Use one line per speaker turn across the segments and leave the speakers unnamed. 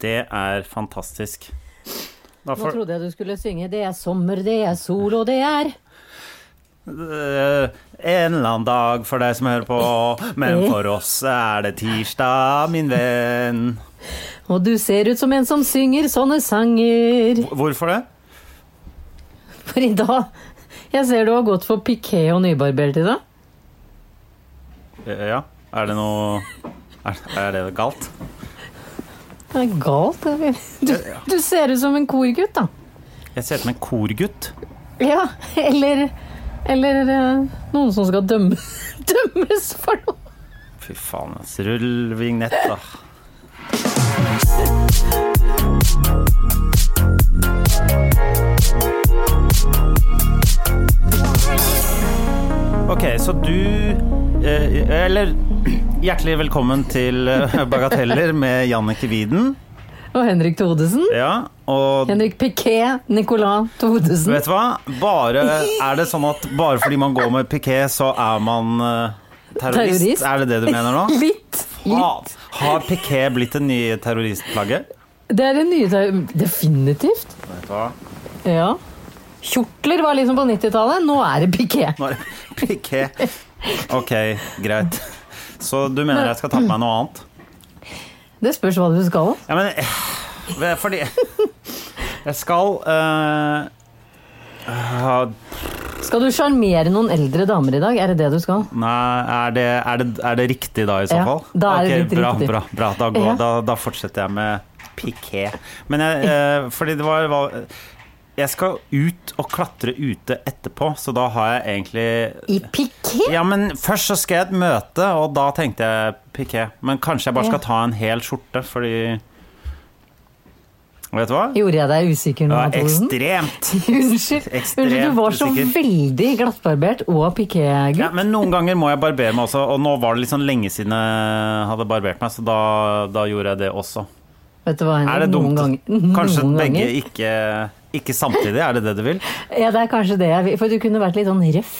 Det er fantastisk. Da
Nå
får-
trodde jeg du skulle synge 'Det er sommer, det er sol, og det er'
Eh, En eller annen dag for deg som hører på, men for oss er det tirsdag, min venn.
Og du ser ut som en som synger sånne sanger.
Hvorfor det?
For i dag Jeg ser du har gått for piké og nybarbert i dag.
Eh, Ja, er det noe Er, er det galt?
Det er galt. det er vel- Du, du ser ut som en korgutt, da.
Jeg ser ut som en korgutt.
Ja, eller Eller eh, noen som skal dømme, dømmes for noe.
Fy faen, ass. Rull vignett, da. Ok, så du eh, Eller hjertelig velkommen til eh, Bagateller med Jannicke Widen.
Og Henrik Thodesen.
Ja, og
Henrik Piquet Nicolas Thodesen.
vet du hva? Bare, er det sånn at bare fordi man går med piké, så er man eh, terrorist?
Terrorist.
Er det det du mener nå?
Litt. litt.
Hat. Har Piqué blitt det nye terroristplagget?
Det er det nye ter- Definitivt.
Nå
Ja. Kjortler var liksom på 90-tallet. Nå er det piké.
er det Piqué. Ok, greit. Så du mener jeg skal ta på meg noe annet?
Det spørs hva du skal.
Ja, men eh, det er Fordi Jeg skal eh, ha-
Skal du sjarmere noen eldre damer i dag? Er det det du skal?
Nei, er det, er, det, er det riktig da, i så
Ja,
fall?
da er det
Ok,
litt
bra,
riktig.
Bra, bra, da, går,
Ja.
da, da fortsetter jeg med piké. Men jeg, eh, fordi det var, var Jeg skal ut og klatre ute etterpå, så da har jeg egentlig
I piké?
Ja, men først så skal jeg et møte, og da tenkte jeg piké. Men kanskje jeg bare skal
Ja.
ta en hel skjorte, fordi Vet du hva?
Gjorde jeg deg usikker nå,
Det var
Thodesen?
ekstremt.
Unnskyld.
ekstremt
Unnskyld, du var så
usikker.
veldig glattbarbert og piké-gutt.
Ja, men noen ganger må jeg barbere meg også, og nå var det litt sånn lenge siden jeg hadde barbert meg, så da, da gjorde jeg det også.
Vet du hva, Henrik?
Er det dumt?
Noen ganger,
Kanskje
noen
begge
ganger.
ikke, ikke samtidig, er det det du vil?
Ja, det er kanskje det jeg vil. For du kunne vært litt sånn røff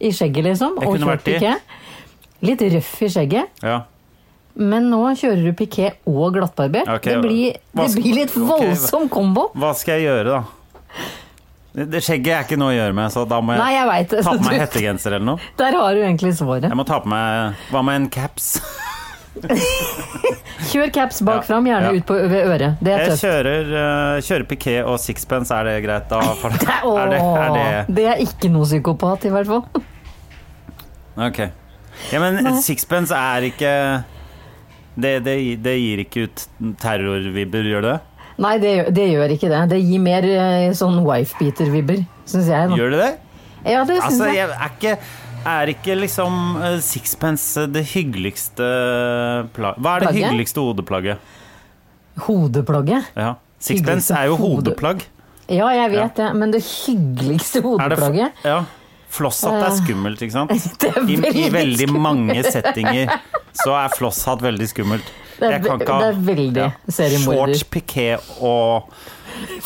i skjegget, liksom.
Jeg kunne vært
kjørt
i.
piké. Litt røff i skjegget,
Ja.
men nå kjører du piké og glattbarbert.
Ok,
det, blir,
hva
det
skal-
blir litt
ok,
voldsom kombo.
Hva skal jeg gjøre, da? Det- Det skjegget er ikke noe å gjøre med, så da må
Nei,
jeg
jeg veit
ta på meg
det.
hettegenser eller noe.
Du- Der har du egentlig svaret.
Jeg må ta på meg Hva med en caps?
Kjør caps bak
Ja,
fram, gjerne
ja.
ut på, ved øret. Det er
Jeg
tøft.
kjører, eh, kjører piké og sixpence, er det greit da? For,
Åh,
er det, er det
det er ikke noe psykopat, i hvert fall.
Ok. Ja, men sixpence er ikke det, det, det gir ikke ut terrorvibber, gjør det?
Nei, det, gjør- det gjør ikke det. Det gir mer eh, sånn wife-beater-vibber, syns jeg. Da.
Gjør det det?
Ja, det synes
Altså,
jeg.
jeg er ikke er ikke liksom eh, sixpence det hyggeligste eh, pla Hva er det
Plagget?
hyggeligste hodeplagget?
Hodeplagget.
Ja. Sixpence er jo
Hyggeligste hode-
hodeplagg.
Ja, jeg vet det, men det
Er
hyggeligste
det f-
hodeplagget Eh.
ja. Flosshatt er skummelt, ikke sant?
det er
I, I
veldig
veldig mange settinger så er flosshatt veldig skummelt.
Det er ve- det er veldig seriemorder.
Shorts, piké og,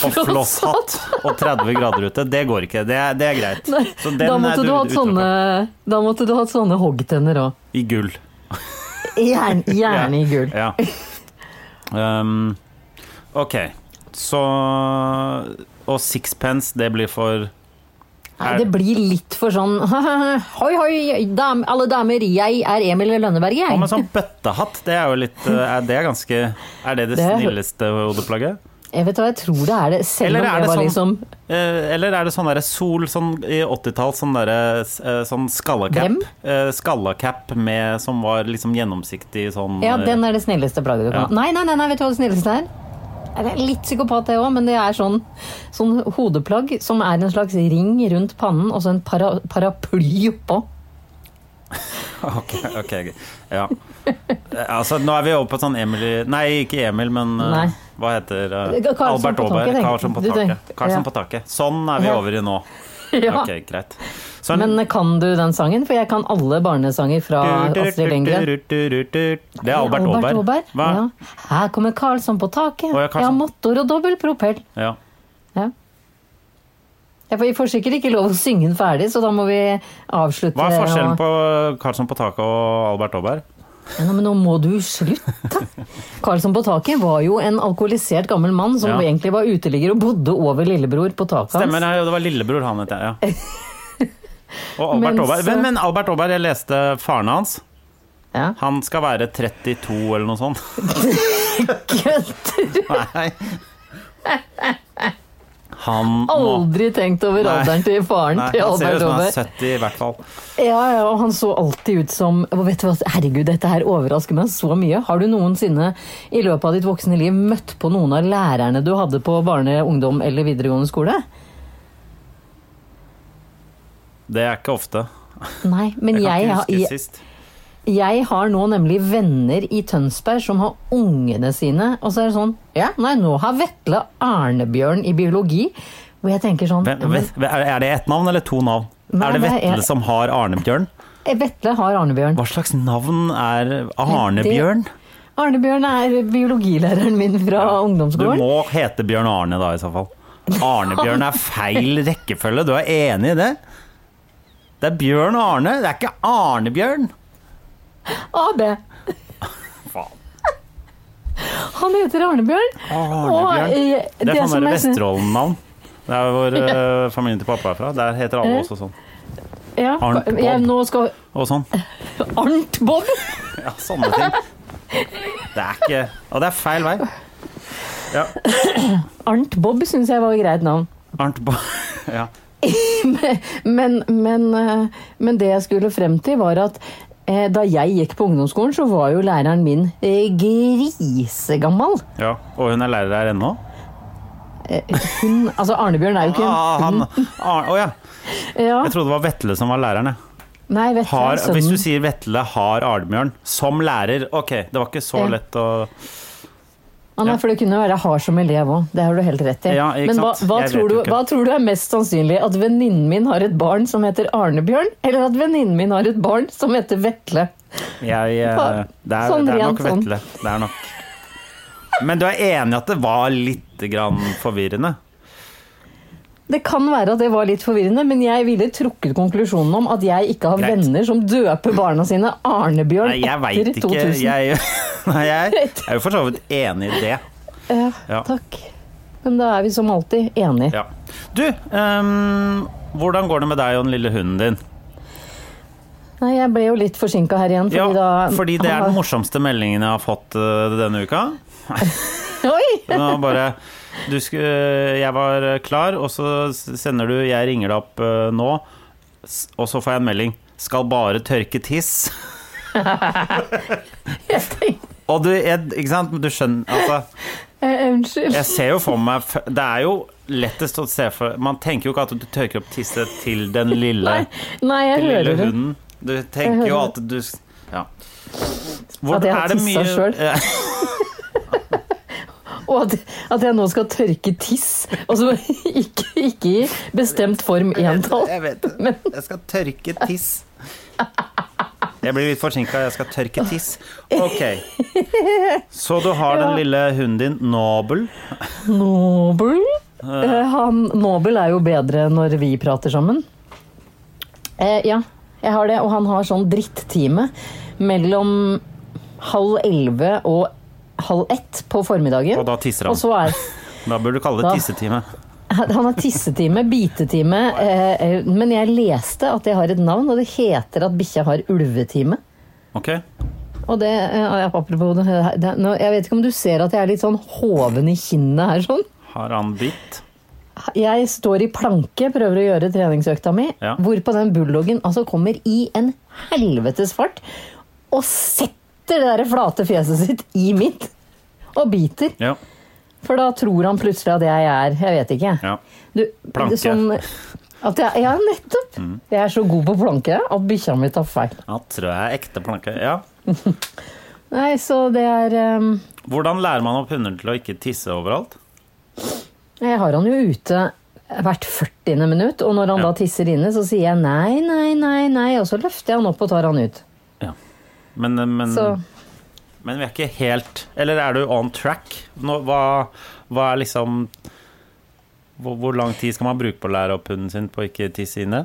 og flosshatt og 30 grader ute, det går ikke. Det er, det er greit. Så den
da,
er
måtte du hatt
utelukket.
sånne, da måtte du hatt sånne hoggtenner òg.
I gull.
Gjerne, gjerne i gull.
Ja. Um, ok, så Og sixpence, det blir for
Nei, det blir litt for sånn Hoi, hoi, dam, alle damer, jeg er Emil Lønneberg,
Hva med
jeg.
sånn bøttehatt? Det er jo litt eh, Er det ganske Er det det
Det er-
snilleste hodeplagget?
Jeg Eh, vet hva, jeg tror det er det, selv
Eller
om
er
jeg
det
var
sånn-
liksom
Eh, eller er det sånn derre sol sånn i 80-tall, sånn derre eh, sånn skallacap?
Hvem?
Eh, skallacap med, som var liksom gjennomsiktig sånn
Ja,
eh,
den er det snilleste plagget du
Ja.
kan ha. Nei, nei, nei, nei, vet du hva det snilleste er? Det er litt psykopat det òg, men det er sånn, sånn hodeplagg som er en slags ring rundt pannen og så en para, paraply oppå.
Ok, ok, ok. ja. Eh, Altså, nå er vi over på sånn Emily Nei, ikke Emil, men eh,
Nei.
hva heter eh,
Karlsson
Albert
på taket,
Aaberg.
tenker jeg.
Karlsson på
Du
taket.
tenker-
Karlsson
ja.
på taket. Sånn er vi
Ja.
over i nå.
Ja.
Ok, greit. Sånn-
Men kan du den sangen? For jeg kan alle barnesanger fra Astrid Lindgren.
Det er Albert Aaberg. Hva?
Ja. Her kommer Karlsson på taket.
Å, ja, Karlsson.
Jeg har motor og dobbel propell.
Ja.
Ja. Jeg får- vi får sikkert ikke lov å synge den ferdig, så da må vi avslutte.
Hva er forskjellen
og-
på Karlsson på taket og Albert Aaberg?
Ja, men nå må du slutte! Karlsson på taket var jo en alkoholisert gammel mann som
Ja.
egentlig var uteligger og bodde over lillebror på taket hans.
Stemmer, ja, det var lillebror han het, ja. Og Albert
Men
Aaberg.
så-
Men, men Albert Aaberg, jeg leste faren hans.
Ja.
Han skal være 32 eller noe sånt.
Kødder!
Nei. Han må
Aldri tenkt over
Nei.
alderen til faren
Nei,
til
han ser
Albert
ut som han er
Aaberg.
70 i hvert fall.
Ja, ja, og han så alltid ut som og vet du hva, Herregud, dette her overrasker meg så mye. Har du noensinne i løpet av ditt voksne liv møtt på noen av lærerne du hadde på barne-, ungdom eller videregående skole?
Det er ikke ofte.
Nei, men
Jeg kan
jeg,
ikke
har-
huske
jeg,
sist.
jeg har nå nemlig venner i Tønsberg som har ungene sine, og så er det sånn Ja, nei, nå har Vetle Arnebjørn i biologi. Hvor jeg tenker sånn
Hvem- hvem- Er er det ett navn eller to navn?
Nei,
er det
det er-
Vetle som har Arnebjørn?
eh, Vetle har Arnebjørn.
Hva slags navn er Arnebjørn?
Arnebjørn er biologilæreren min fra
Du
ungdomsskolen.
må hete Bjørn Arne da, i så fall. Arnebjørn er feil rekkefølge, du er enig i det? Det er Bjørn Arne, det er ikke Arnebjørn.
AB.
Faen.
Han heter Arnebjørn.
Arnebjørn.
Og, eh,
Det er
det
sånn
som
der
er-
Vesterålen-navn. Det er hvor eh, familien til pappa er fra. Der heter alle også sånn.
Ja,
Arnt Bob.
jeg, nå skal
Og sånn.
Arnt Bob!
Ja, sånne ting. Det er ikke Og det er feil vei. Ja.
Arnt Bob syns jeg var et greit navn.
Arnt Bo... Ja.
Men, men, eh, men det jeg skulle frem til, var at eh, da jeg gikk på ungdomsskolen, så var jo læreren min eh, grisegammal.
ja. Og hun er lærer her ennå?
Hun Altså, Arnebjørn er jo ikke
Ah,
en
han Ar- Å ja.
ja.
Jeg trodde det var Vetle som var læreren, jeg.
Nei, vet du,
Har, hvis du
sønnen.
sier Vetle har Arnbjørn som lærer Ok, det var ikke så
Ja.
lett å
Ah, nei,
ja.
for det kunne være hard som elev òg. Det har du helt rett i.
Ja, ikke
men hva,
sant?
hva,
Jeg vet
tror du,
jo ikke.
hva tror du er mest sannsynlig? At venninnen min har et barn som heter Arnebjørn, eller at venninnen min har et barn som heter Vetle?
jeg, eh,
Hva?
det, er,
Sånn
det er nok
rent sånn.
Vetle. Det er nok. Men du er enig i at det var litt grann forvirrende?
Det kan være at det var litt forvirrende, men jeg ville trukket konklusjonen om at jeg ikke har
Greit.
venner som døper barna sine Arnebjørn
Nei, jeg veit
etter
ikke.
2000.
Jeg, nei, jeg er jo for så vidt enig i det.
Ja,
Ja.
Takk. Men da er vi som alltid enige.
Ja. Du, ehm, hvordan går det med deg og den lille hunden din?
Nei, jeg ble jo litt forsinka her igjen, fordi
Ja,
da
fordi det er den
Ah,
morsomste meldingen jeg har fått eh, denne uka.
Oi!
Den var bare du sku, Jeg var klar, og så sender du 'jeg ringer deg opp eh, nå', s- og så får jeg en melding 'skal bare tørke tiss'.
Jeg tenkte
Og du, jeg, ikke sant, du skjønner Altså,
eh, Unnskyld.
jeg ser jo for meg f- Det er jo lettest å se for Man tenker jo ikke at du tørker opp tisset til den lille
Nei, nei jeg
Den lille
hører det.
hunden. Du tenker jo at du Ja. Hvor,
At jeg har
er det
tissa
mye-
selv.
Ja,
Og at, at jeg nå skal tørke tiss, og så ikke, ikke i bestemt form entall.
Jeg vet det.
Men-
Jeg skal tørke tiss. Jeg blir litt forsinka, jeg skal tørke tiss. Ok. Så du har den
Ja.
lille hunden din, Nobel.
Nobel? Eh, han, Nobel er jo bedre når vi prater sammen. Eh, ja, jeg har det. Og han har sånn drittime mellom halv elleve og halv ett på formiddagen.
Og da tisser
Og
han.
så er
Da burde du kalle
Da-
det tissetime.
han har tissetime, bitetime, eh, eh, men jeg leste at det har et navn, og det heter at bikkja har ulvetime.
Ok?
Og det, eh, apropos det, her- det, nå, Jeg vet ikke om du ser at jeg er litt sånn hoven i kinnet her sånn?
Har han bitt?
Jeg står i planke, prøver å gjøre treningsøkta mi,
Ja.
hvorpå den bulldoggen altså kommer i en helvetes fart og setter det der flate fjeset sitt i mitt og biter.
Ja.
For da tror han plutselig at jeg er Jeg vet ikke.
ja.
Du,
Planke. Mm.
Sånn, At jeg, ja, nettopp. Jeg er så god på planke at bikkja mi tar feil.
Ja, tror jeg er ekte planke. Ja.
Nei, så det er ehm,
Hvordan lærer man opp hunder til å ikke tisse overalt?
Jeg har han jo ute hvert 40. minutt, og når han
Ja.
da tisser inne, så sier jeg nei, nei, nei, nei, og så løfter jeg han opp og tar han ut.
Ja. Men, men,
Så
men vi er ikke helt Eller er du on track? Nå, hva, hva er liksom hvor, hvor lang tid skal man bruke på å lære opp hunden sin på å ikke tisse inne?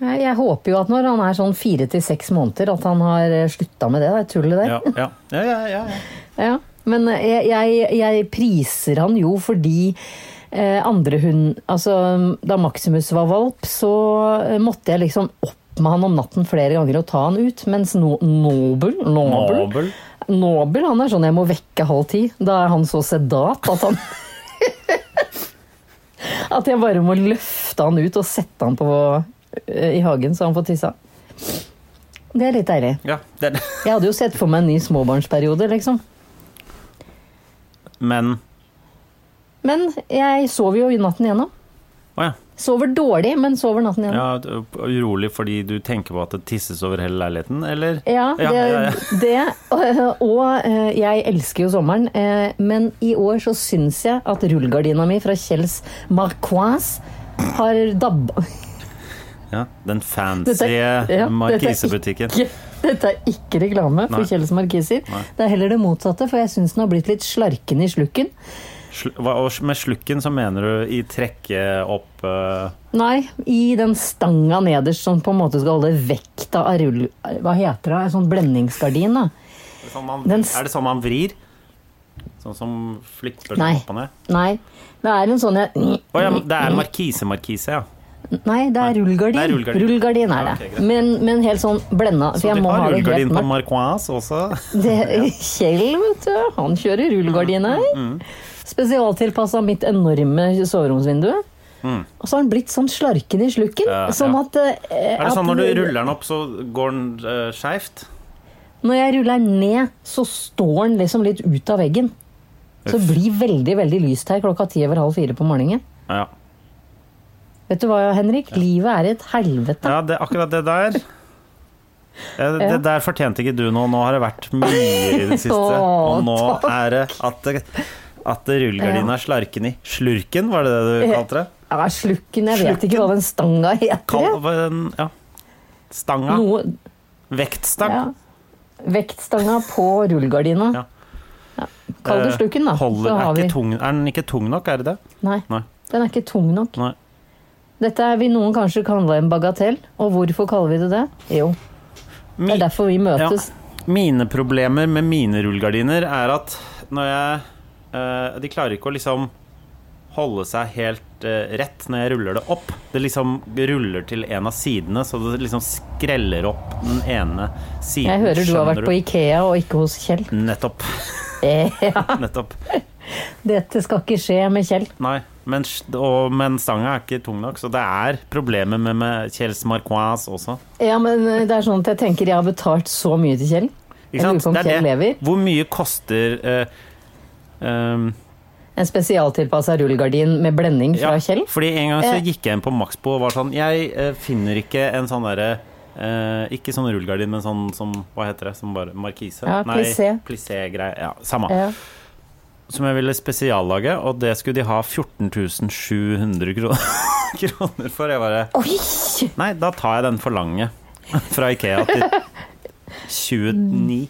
jeg, jeg håper jo at når han er sånn fire til seks måneder, at han har slutta med det der tullet der.
Ja, ja, ja. ja, ja, ja.
Ja, men eh, jeg, jeg, jeg priser han jo fordi eh, andre hund Altså, da Maximus var valp, så eh, måtte jeg liksom opp med han om natten flere ganger og ta han ut, mens no, Nobel, Nobel
Nobel.
Nobel han er sånn jeg må vekke halv ti. Da er han så sedat at han At jeg bare må løfte han ut og sette han på eh, i hagen så han får tissa. Det er litt deilig.
Ja, det,
Jeg hadde jo sett for meg en ny småbarnsperiode, liksom.
men
Men jeg sover jo natten igjennom.
Å ja.
Sover dårlig, men sover natten igjennom.
ja. du er Urolig fordi du tenker på at det tisses over hele leiligheten, eller?
Ja, det,
Ja, ja, ja.
det og, og eh, jeg elsker jo sommeren, eh, men i år så syns jeg at rullegardina mi fra Kjells Marquise har dabba
Ja, den fancy
Dette er- ja,
markisebutikken.
Ikke- Dette er ikke reklame for
Nei.
Kjells Markiser.
Nei.
Det er heller det motsatte, for jeg syns den har blitt litt slarken i slukken.
Sl- hva- Og med slukken så mener du i trekke opp eh,
Nei, i den stanga nederst som på en måte skal holde vekta av rull... Hva heter det? En sånn blendingsgardin, da.
sånn man,
Den s-
Er det sånn man vrir? Sånn som flipper
Nei.
opp og ned?
Nei. Det er en sånn jeg
Å ja, men det er markise-markise, ja.
Nei, det er rullegardin.
Det er
rullgardin.
rullegardin.
er
Ja,
det.
ok, greit.
men, men helt sånn blenda. For
Så
jeg
du
må
har
ha det helt
rullegardin på
mørkt.
marquise også?
Det- Kjell, vet du. Han kjører rullegardin her.
Mm,
Spesialtilpassa mitt enorme soveromsvindu. Og så har han blitt sånn slarken i slukken.
Mm. Ja,
sånn
ja.
at eh,
Er det
at-
sånn når du ruller den opp, så går den uh, skeivt?
Når jeg ruller den ned, så står den liksom litt ut av veggen. Så det blir veldig veldig lyst her klokka ti over halv fire på morgenen.
Ja.
Vet du hva, Henrik? Livet er et helvete.
ja, det, akkurat det der. Ja, det, det der fortjente ikke du nå. Nå har det vært mye i det siste.
Å,
Og nå er det at, det, at det rullegardinen er slarken i. Slurken, var det det
Eh,
du kalte det?
Ja, slukken, jeg vet ikke hva den stanga heter.
Kall,
jeg.
hva er den- ja. Stanga.
Noe,
Vektstang.
ja. Vektstanga på rullegardina.
Ja.
Ja. Kall det
Eh,
slukken, da.
Holder,
så har
er,
vi.
ikke tung, er den ikke tung nok, er det det?
Nei,
Nei.
den er ikke tung nok.
Nei.
Dette er vi noen kanskje kalle en bagatell. Og hvorfor kaller vi det det? Jo, det
Mi-
er derfor vi møtes.
Mine problemer med mine rullegardiner er at når jeg eh, De klarer ikke å liksom holde seg helt eh, rett når jeg ruller det opp. Det liksom ruller til en av sidene, så det liksom skreller opp den ene siden.
Jeg hører du har vært
skjønner
på Ikea og ikke hos Kjell.
du? Nettopp.
Eh, ja.
Nettopp.
Dette skal ikke skje med Kjell.
Nei. Men, s- og, men stanga er ikke tung nok, så det er problemer med, med Kjells Marquise også.
Ja, men eh, det er sånn at jeg tenker jeg har betalt så mye til Kjell. Jeg
Ikke sant?
lurer på om
Det er
Kjell lever.
Hvor mye koster eh, ehm,
En spesialtilpassa rullegardin med blending fra
ja,
Kjell.
Fordi en gang så
Eh.
gikk jeg inn på Maxbo og var sånn Jeg eh, finner ikke en sånn derre eh, Ikke sånn rullegardin, men sånn som Hva heter det? Som bare markise?
Ja, plissé.
plissé-greie. Ja, samme.
Ja.
Som jeg ville spesiallage, og det skulle de ha 14 700 kroner, kroner for. Jeg bare
Oi!
Nei, da tar jeg den for lange. Fra Ikea til 29.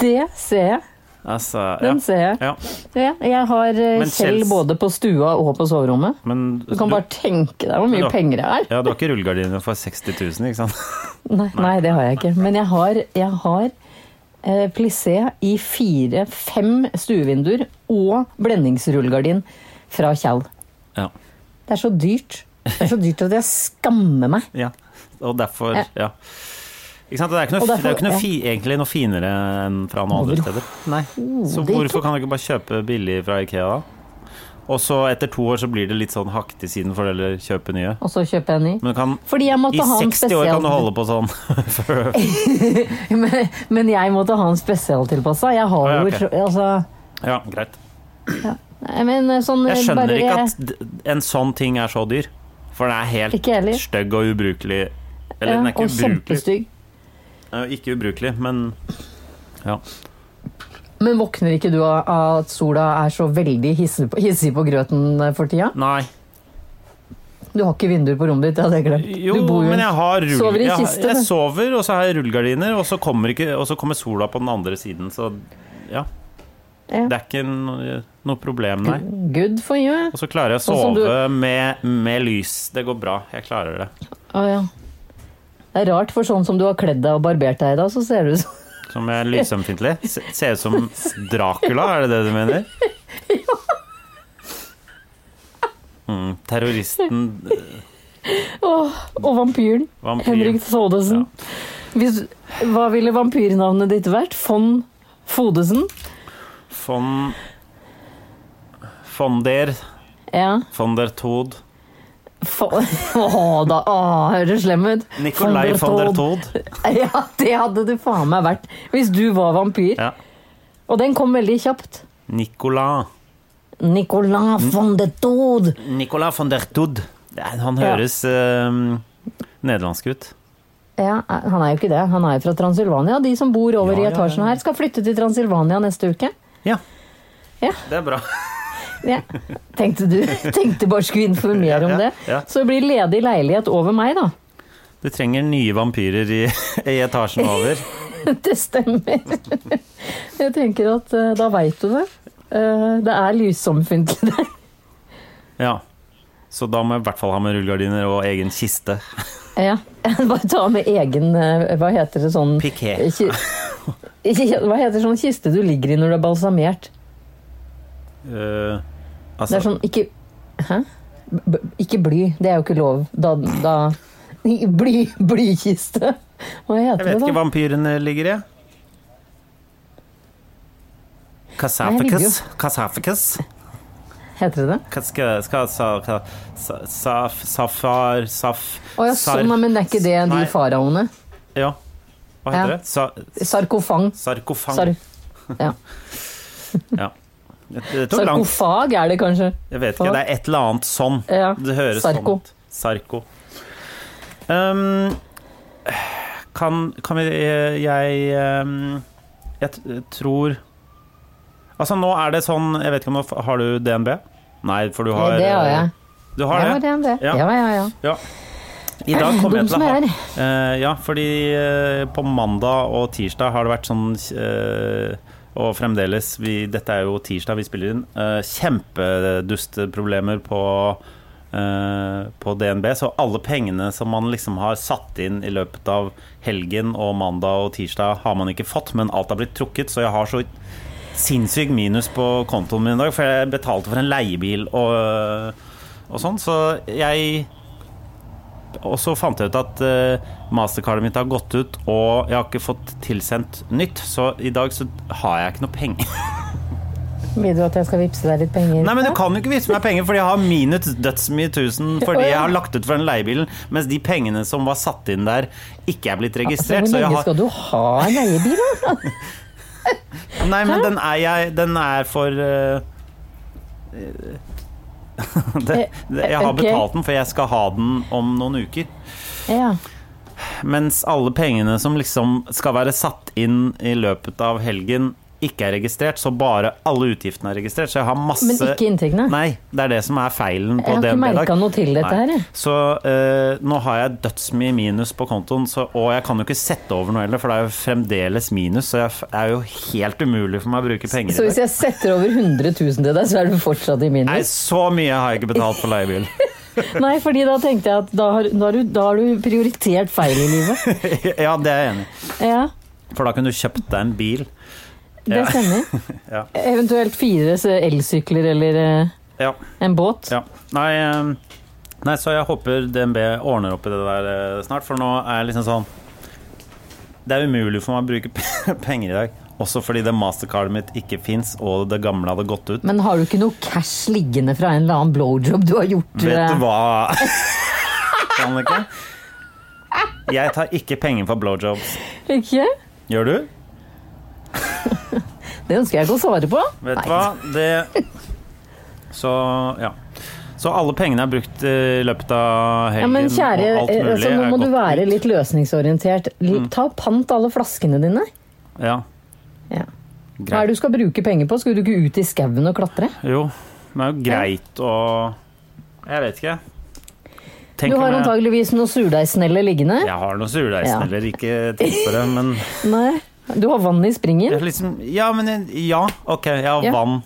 Det ser jeg.
Altså, ja.
Den ser jeg.
ja.
Ja, jeg har eh,
Men
Kjell
Kjells- både
både på stua og på soverommet.
Men
Du kan bare tenke deg hvor
Men
mye
da-
penger det er.
Ja, du har ikke rullegardiner for 60 000, ikke sant?
Nei, nei, det har jeg ikke. Men jeg har, jeg har eh, plissé i fire-fem stuevinduer og blendingsrullegardin fra Kjell.
Ja.
Det er så dyrt. Det er så dyrt at jeg skammer meg.
ja. Og derfor
Ja.
Ja. Ikke sant? Det er, ikke noe,
Og derfor-
det er jo ikke
ja.
noe fi, egentlig noe finere enn fra noen andre steder. Nei. Så
det er
hvorfor kan du ikke bare kjøpe billig fra Ikea, da? Og så etter to år så blir det litt sånn hakk til siden for det, eller kjøpe nye.
Og så kjøper jeg en ny.
Men du kan,
Fordi jeg
i
måtte ha en
60 år kan du
spesial...
holde på sånn. For-
Men, men jeg måtte ha en spesialtilpassa. Jeg har
Å, ja,
jo
ok.
altså,
ja, greit.
Nei, men eh, sånn eh,
Jeg skjønner
bare
ikke at d- en sånn ting er så dyr. For den er
Ikke
helt
jeg heller.
stygg og ubrukelig. Eller
Ja,
den er ikke
og
ubrukelig.
kjempestygg.
Den er jo Ikke ubrukelig, men ja.
Men våkner ikke du av av at sola er så veldig hissig på, hissig på grøten eh, for tida?
Nei.
Du har ikke vinduer på rommet ditt, det hadde jeg glemt.
Jo,
du bor jo i
men
en-
jeg har rull...
sover i
jeg, har-
kiste, du.
jeg sover, og så har jeg rullegardiner, og så kommer, ikke, og så kommer sola på den andre siden, så ja.
Ja.
Det er ikke noe, noe problem, nei.
Good for you.
Og så klarer jeg å
Og Sånn som
sove
du-
med, med lys. Det går bra. Jeg klarer det.
Å ja. Det er rart, for sånn som du har kledd deg og barbert deg i dag, så ser du ut som
Som jeg er lysømfintlig. Se- Ser ut som Dracula, er det det du mener? Ja. Mm, terroristen,
Åh, Og vampyren.
vampyren
Henrik Thodesen. Hvis, hva ville vampyrnavnet ditt vært? Von Fodesen?
von Von der
Ja.
Von der Tod.
Fo- Åh, da. Åh, høres slem ut.
Nicolai von der Tod.
Ja, det hadde du faen meg vært hvis du var vampyr.
Ja.
Og den kom veldig kjapt.
Nicolas.
Nicolas
Mm.
von de Tod.
Nicolas von der Tod. Det er- Han
Ja.
høres eh, nederlandsk ut.
Ja, han er jo ikke det. Han er jo fra Transilvania. De som bor over
Ja,
i
ja,
etasjen
ja.
her, skal flytte til Transilvania neste uke.
Ja.
Ja.
Det er bra.
Ja. Tenkte du tenkte bare skulle informere om
Ja,
det.
ja.
Så det blir ledig leilighet over meg, da.
Du trenger nye vampyrer i, i etasjen over.
Det stemmer. Jeg tenker at eh, da veit du det. Eh, Det er lysomfintlig der.
Ja. Så da må jeg i hvert fall ha med rullegardiner og egen kiste.
Ja. Bare ta med egen eh, Hva heter det sånn
Piké.
Ki- Ki- Hva heter sånn kiste du ligger i når du er balsamert?
Eh,
Det
altså,
er sånn ikke Hæ? B ikke bly. Det er jo ikke lov. Da, da Bly, Blykiste. Hva
jeg
heter
vet
det,
ikke
da?
vampyrene ligger i.
Nei, jeg
Kasafikas.
ligger
Kasafikas.
Heter det det?
Kaska- ska- sa- ka- sa- Saf Safar Saf
Å ja,
sar-
sånn, nei, men det er ikke det de
Nei.
faraoene.
Ja. Hva heter
Ja.
det? Sa
Sarkofang.
sarkofang.
Sar ja.
Ja. Det, det tok langt.
Sarkofag er det kanskje.
Jeg vet ikke. Det er et eller annet sånn.
Ja.
Det høres
Sarko.
sånn ut. Sarko. Um, kan, kan vi Jeg um, Jeg t- tror Altså, nå er det sånn Jeg vet ikke om du f- Har du DNB? Nei, for du har eh,
det har jeg.
Du
Jeg
har
har
det?
det, det.
Ja.
Ja, ja, ja.
I dag kommer jeg til å
Dum
ha
som jeg
Eh, Ja, fordi eh, på mandag og tirsdag har det vært sånn eh, Og fremdeles vi, Dette er jo tirsdag vi spiller inn. eh, Kjempedustproblemer på eh, på DNB, så alle pengene som man liksom har satt inn i løpet av helgen og mandag og tirsdag, har man ikke fått, men alt har blitt trukket, så jeg har så sinnssykt minus på kontoen min i dag, for jeg betalte for en leiebil og, og sånn, så jeg og så fant jeg ut at eh, mastercardet mitt har gått ut, og jeg har ikke fått tilsendt nytt, så i dag så har jeg ikke noe penger.
Vil du at jeg skal vippse deg litt penger?
Nei, men du kan jo ikke vise meg penger, fordi jeg har minus dødsmye tusen fordi jeg har lagt ut for den leiebilen, mens de pengene som var satt inn der, ikke er blitt
Altså,
registrert.
hvor
Så jeg
lenge
har
skal du ha en leiebil? da?
Nei, men den er jeg Den er for eh, det, det, jeg har
Eh, Ok.
betalt den, for jeg skal ha den om noen uker.
Ja.
Mens alle pengene som liksom skal være satt inn i løpet av helgen, ikke er registrert, så bare alle utgiftene er registrert. Så jeg har masse
Men ikke inntektene?
Nei, det er det som er feilen på
Jeg har ikke
DNB i dag.
merka noe til dette
Nei.
her. jeg.
Så eh, nå har jeg dødsmye minus på kontoen, så, og jeg kan jo ikke sette over noe heller, for det er jo fremdeles minus, så jeg f- det er jo helt umulig for meg å bruke penger
Så
i
hvis
dag.
jeg setter over 100 000 til deg, så er du fortsatt i
Nei,
minus?
så mye har jeg ikke betalt for leiebil.
Nei, fordi da tenkte jeg at da har, da har, du, da har du prioritert feil i livet.
ja, det er jeg enig i.
Ja,
For da kunne du kjøpt deg en bil.
det
Ja.
stemmer.
Ja.
Eventuelt fire s- elsykler eller eh,
Ja.
en båt.
Ja. Nei, ehm, nei, så jeg håper DNB ordner opp i det der eh, snart, for nå er jeg liksom sånn Det er umulig for meg å bruke pe- penger i dag. Også fordi det mastercardet mitt ikke fins, og det gamle hadde gått ut.
Men har du ikke noe cash liggende fra en eller annen blowjob du har gjort?
Vet
eh,
du hva, Jannicke? Jeg tar ikke penger for blowjobs.
Ikke?
Gjør du?
Det ønsker jeg ikke å svare på.
Vet du
Nei.
hva, det Så, ja. Så Så alle pengene er brukt eh, i løpet av helgen
Ja, men kjære,
og alt
eh,
mulig.
altså, nå
er Mm.
må du
gått
være
ut.
litt løsningsorientert. L- Ta pant alle flaskene dine.
Ja,
Ja. Hva
greit.
er det du skal bruke penger på? Skulle du ikke ut i skauen og klatre?
Jo, men det er jo greit å Jeg vet ikke. Tenk
Du har
om jeg-
antageligvis noen surdeigsneller liggende.
Jeg har noen surdeigsneller, ikke tenk på det, men
Nei. Du har vann i
jeg
springen.
liksom Ja, men jeg- ja, OK, jeg har
Ja.
vann.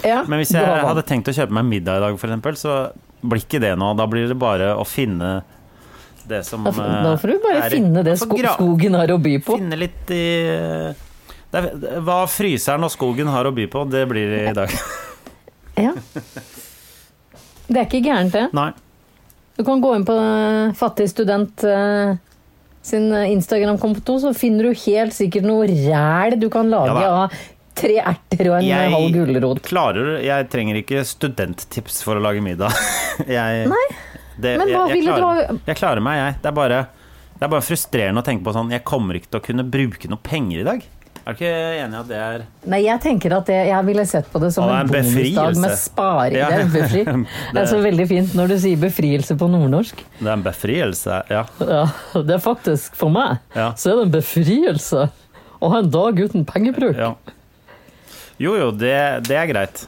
Ja,
Men hvis
du
jeg
har vann.
hadde tenkt å kjøpe meg middag i dag, f.eks., så blir ikke det noe. Da blir det bare å finne det som
Da f- Da får du bare
eh, er i-
finne det
Få
sko
gra-
skogen har å by på.
Finne litt i det er, Hva fryseren og skogen har å by på, det blir det i dag.
Ja. Det er ikke gærent, det.
Nei.
Du kan gå inn på eh, Fattig student eh, sin eh, Instagram-konto, så finner du helt sikkert noe ræl du kan lage
Ja da.
av tre erter og en eh,
Jeg
halv gulrot.
klarer Jeg trenger ikke studenttips for å lage middag. Jeg, det-
men
jeg-
hva
jeg
ville du
klarer-
ha-
Jeg klarer meg, jeg. Det er bare det er bare frustrerende å tenke på sånn Jeg kommer ikke til å kunne bruke noe penger i dag. Er du ikke enig i at det er
Nei, jeg tenker at det, jeg ville sett på det som
Å, det er
en
en
bonusdag
befrielse.
med sparing.
Ja.
Det er en befri. Det er så veldig fint når du sier befrielse på nordnorsk.
Det er en befrielse, ja.
Ja, det er faktisk, for meg,
Ja.
så er det en befrielse å ha en dag uten pengebruk.
ja. Jo, jo, det, det er greit.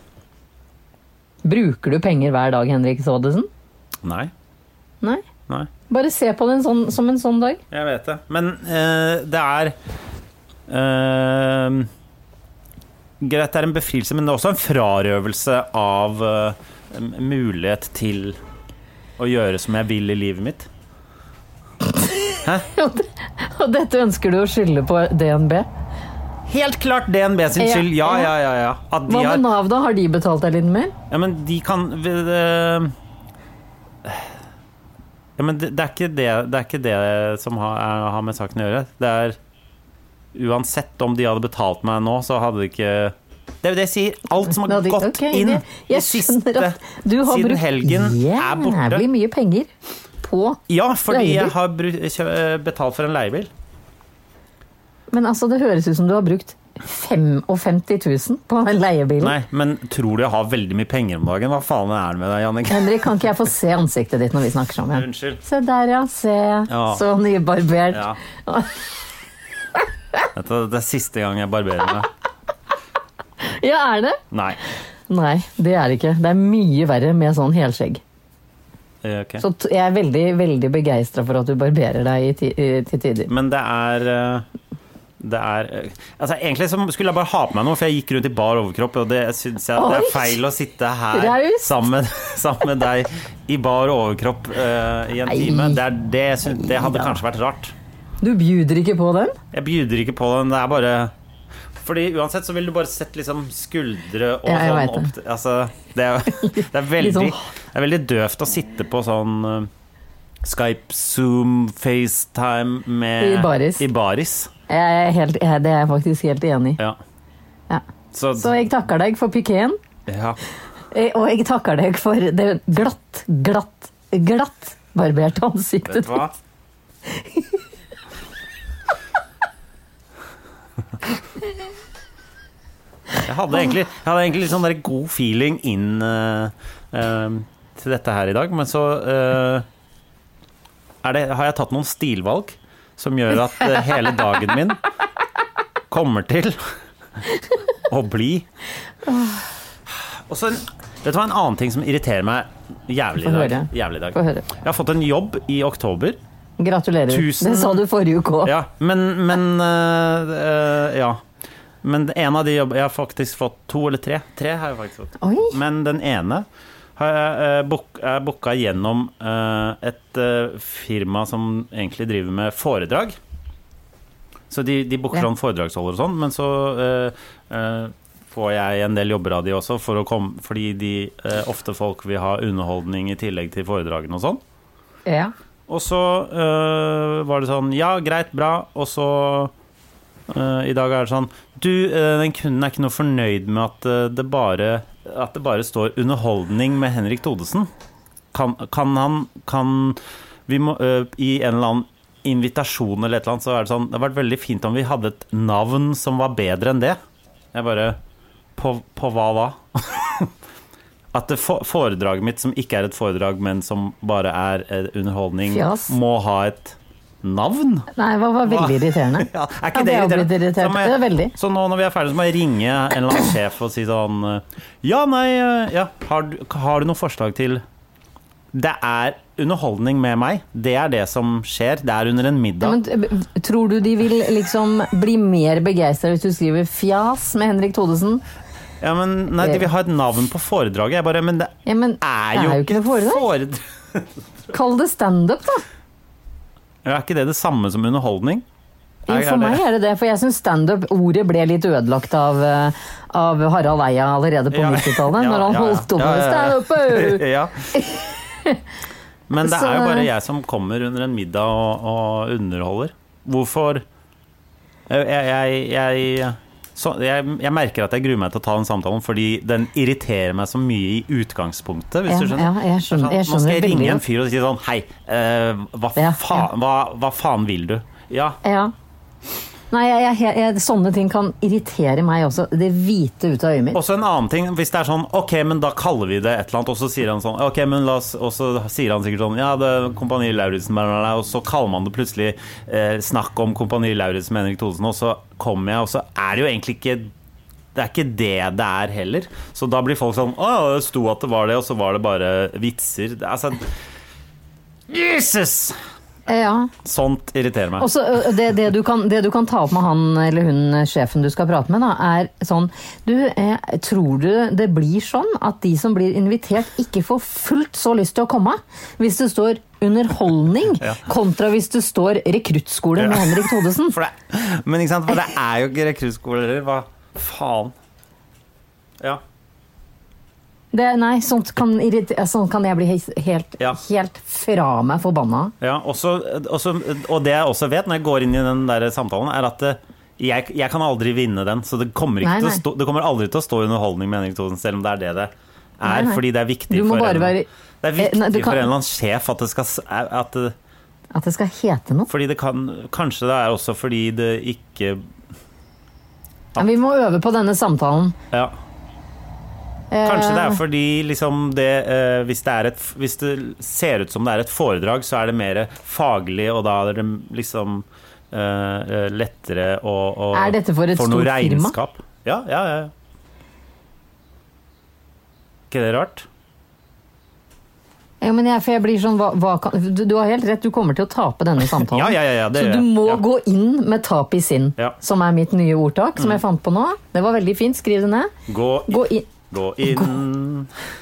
Bruker du penger hver dag, Henrik Saadesen?
Nei.
Nei.
Nei.
Bare se på det en sånn, som en sånn dag.
Jeg vet det. Men eh, det er eh, Greit, det er en befrielse, men det er også en frarøvelse av eh, m- mulighet til å gjøre som jeg vil i livet mitt.
Og dette ønsker du å skylde på DNB.
Helt klart DNB sin
Ja,
skyld! Ja, ja, ja. ja. At de
Hva med
har
Nav, da? Har de betalt deg litt mer?
Ja, men de kan ved, eh, Ja, men det, det, er ikke det, det er ikke det som har, er, har med saken å gjøre. Det er Uansett om de hadde betalt meg nå, så hadde de ikke Det er jo det jeg sier. Alt som har
Nå, de-
gått
ok,
inn
det-
i
jeg
siste
skjønner at du har
siden
brukt
helgen er borte.
Jævlig mye penger på
Ja, fordi
Leiebil.
jeg har bru- kjø- eh, betalt for en leiebil.
Men altså, det høres ut som du har brukt 55 000 på en leiebil.
Nei, men tror du jeg har veldig mye penger om dagen? Hva faen er det med deg, Jannik?
Henrik, kan ikke jeg få se ansiktet ditt når vi snakker sammen?
Unnskyld.
Se der, ja. Se.
Ja.
Så nybarbert.
Ja. Vet du, Det er siste gang jeg barberer meg.
ja, er det?
Nei.
Nei, det er det ikke. Det er mye verre med sånn helskjegg.
Eh, ok.
Så t- jeg er veldig, veldig begeistra for at du barberer deg i ti i- til tider.
Men det er eh, det er eh, altså Egentlig så skulle jeg bare ha på meg noe, for jeg gikk rundt i bar overkropp, og det syns jeg det er
Oi!
feil å sitte her
Raust!
sammen, med- sammen med deg i bar overkropp eh, i en
Nei.
time. Det, er det, jeg syns- det hadde
Neida.
kanskje vært rart.
Du bjuder ikke på den?
Jeg bjuder ikke på den. Det er bare fordi uansett så ville du bare sett liksom skuldre og
Ja, jeg
sånn
vet
opp til Altså, det er, jo- det er veldig
Litt sånn-
Det er veldig døvt å sitte på sånn eh, Skype, Zoom, FaceTime med
I baris.
I baris.
Jeg er helt, jeg, det er jeg faktisk helt enig i.
Ja.
Ja.
Så,
Så jeg takker deg for pikeen,
ja.
eh, og jeg takker deg for det glatt, glatt, glatt barberte
Vet
ansiktet.
du hva? Jeg hadde egentlig, jeg hadde egentlig litt sånn der god feeling inn eh, eh, til dette her i dag, men så eh, er det, har jeg tatt noen stilvalg som gjør at eh, hele dagen min kommer til å bli Og så en, vet du hva, en annen ting som irriterer meg jævlig i
Få
dag.
høre.
Jævlig i dag.
Få høre.
Jeg har fått en jobb i oktober.
Gratulerer.
Tusen-
Det sa du forrige uke òg.
Ja, men, men øh, øh, Ja. Men en av de jobbene Jeg har faktisk fått to eller tre. Tre har jeg faktisk fått.
Oi!
Men den ene har jeg øh, book- er booka gjennom øh, et øh, firma som egentlig driver med foredrag. Så de, de booker
Ja.
sånn foredragsholder og sånn, men så øh, øh, får jeg en del jobber av de også, for å komme, fordi de øh, ofte folk vil ha underholdning i tillegg til foredragene og sånn.
Ja.
Og så øh, var det sånn Ja, greit, bra. Og så øh, I dag er det sånn Du, øh, den kunden er ikke noe fornøyd med at øh, det bare At det bare står 'underholdning med Henrik Thodesen'. Kan, kan han Kan Vi må øh, I en eller annen invitasjon eller et eller annet, så er det sånn Det hadde vært veldig fint om vi hadde et navn som var bedre enn det. Jeg bare På, på hva da? at det for- foredraget mitt, som ikke er et foredrag, men som bare er eh, underholdning,
Fjas.
må ha et navn?
Nei, det var, var veldig irriterende.
Ja, er
Ja,
ikke
det
det
har
irriterende?
blitt irritert.
Så må jeg-
Det er veldig.
Så nå når vi er ferdige, så må jeg ringe en eller annen sjef og si sånn eh, Ja, nei, eh, ja, har du, har du noen forslag til Det er underholdning med meg. Det er det som skjer. Det er under en middag.
Ja, men t- b- tror du de vil liksom bli mer begeistra hvis du skriver 'fjas' med Henrik Thodesen?
Ja, men Nei, de vil ha et navn på foredraget. Jeg bare, Men det
Ja, men
er jo ikke
noe
et
foredrag.
foredrag.
Kall det standup, da.
Ja, Er ikke det det samme som underholdning?
Jo,
Er- er
for meg
det-
er det det, for jeg syns standup-ordet ble litt ødelagt av, eh, av Harald Eia allerede på
Ja.
90-tallet,
Ja,
når han
ja, ja.
holdt opp
Ja,
med
ja, ja.
standup.
ja. Men det er jo
Så-
bare jeg som kommer under en middag og, og underholder. Hvorfor Jeg, jeg, jeg, så, jeg, jeg merker at jeg gruer meg til å ta den samtalen, fordi den irriterer meg så mye i utgangspunktet, hvis
Ja,
du skjønner.
ja, jeg skjønner-
Sånn, Nå
jeg
skal
skjønner
jeg
veldig
ringe en
godt.
fyr og si sånn Hei, eh, hva,
Ja,
faen, hva, hva faen vil du? Ja,
Ja. Nei, jeg, jeg, jeg, sånne ting kan irritere meg også. Det hvite ut av øyet mitt.
Også en annen ting, hvis det er sånn Ok, men da kaller vi det et eller annet Og så sier han sånn Ok, men la oss Og så sier han sikkert sånn Ja, det er Kompani Lauritsen bla, bla, bla, Og så kaller man det plutselig eh, Snakk om Kompani Lauritsen med Henrik Thodesen Og så kommer jeg Og så er det jo egentlig ikke Det er ikke det det er heller Så da blir folk sånn Å, det sto at det var det Og så var det bare vitser Det- Altså Jesus!
Ja.
Sånt irriterer meg
Og så, ø, det, det, du kan, det du kan ta opp med han eller hun ø, sjefen du skal prate med, da, er sånn Du, eh, tror du det blir sånn at de som blir invitert, ikke får fullt så lyst til å komme? Hvis det står 'underholdning', kontra hvis det står 'rekruttskole' med
Ja.
Henrik Thodesen.
For det Men ikke sant? For det er jo ikke rekruttskoler Hva faen? Ja
Det, nei, sånt kan, irrit- eh, sånt kan jeg bli he- helt,
Ja.
helt fra meg forbanna av.
Ja, også, også, og det jeg også vet når jeg går inn i den der samtalen, er at eh, jeg, jeg kan aldri vinne den. Så det kommer, ikke
Nei,
til å
nei.
stå, det kommer aldri til å stå underholdning med Henrik Thoden, selv om det er det det er.
Nei, nei.
Fordi det er viktig,
Du må
for,
bare
en,
være-
det er
Eh,
viktig
nei, du kan-
for en eller annen sjef at det skal s- at, det-
At det skal hete noe.
Fordi det kan Kanskje det er også fordi det ikke
Ja, vi må øve på denne samtalen.
Ja.
Eh,
Kanskje det er fordi liksom det, eh, hvis, det er et, hvis det ser ut som det er et foredrag, så er det mer faglig, og da er det liksom eh, lettere å, å
Er dette for et
få noe
stort firma?
regnskap. Ja, ja, ja. ja. Ikke det rart?
Ja, men jeg, for jeg blir sånn, hva, hva kan, du, du har helt rett, du kommer til å tape denne samtalen.
Ja, ja, ja. ja det
Så
gjør
du
jeg.
må
ja.
gå inn med tap i sinn,
Ja. Mm.
som er mitt nye ordtak, som jeg fant på nå. Det var veldig fint, skriv det ned.
Gå inn,
Gå inn
gå inn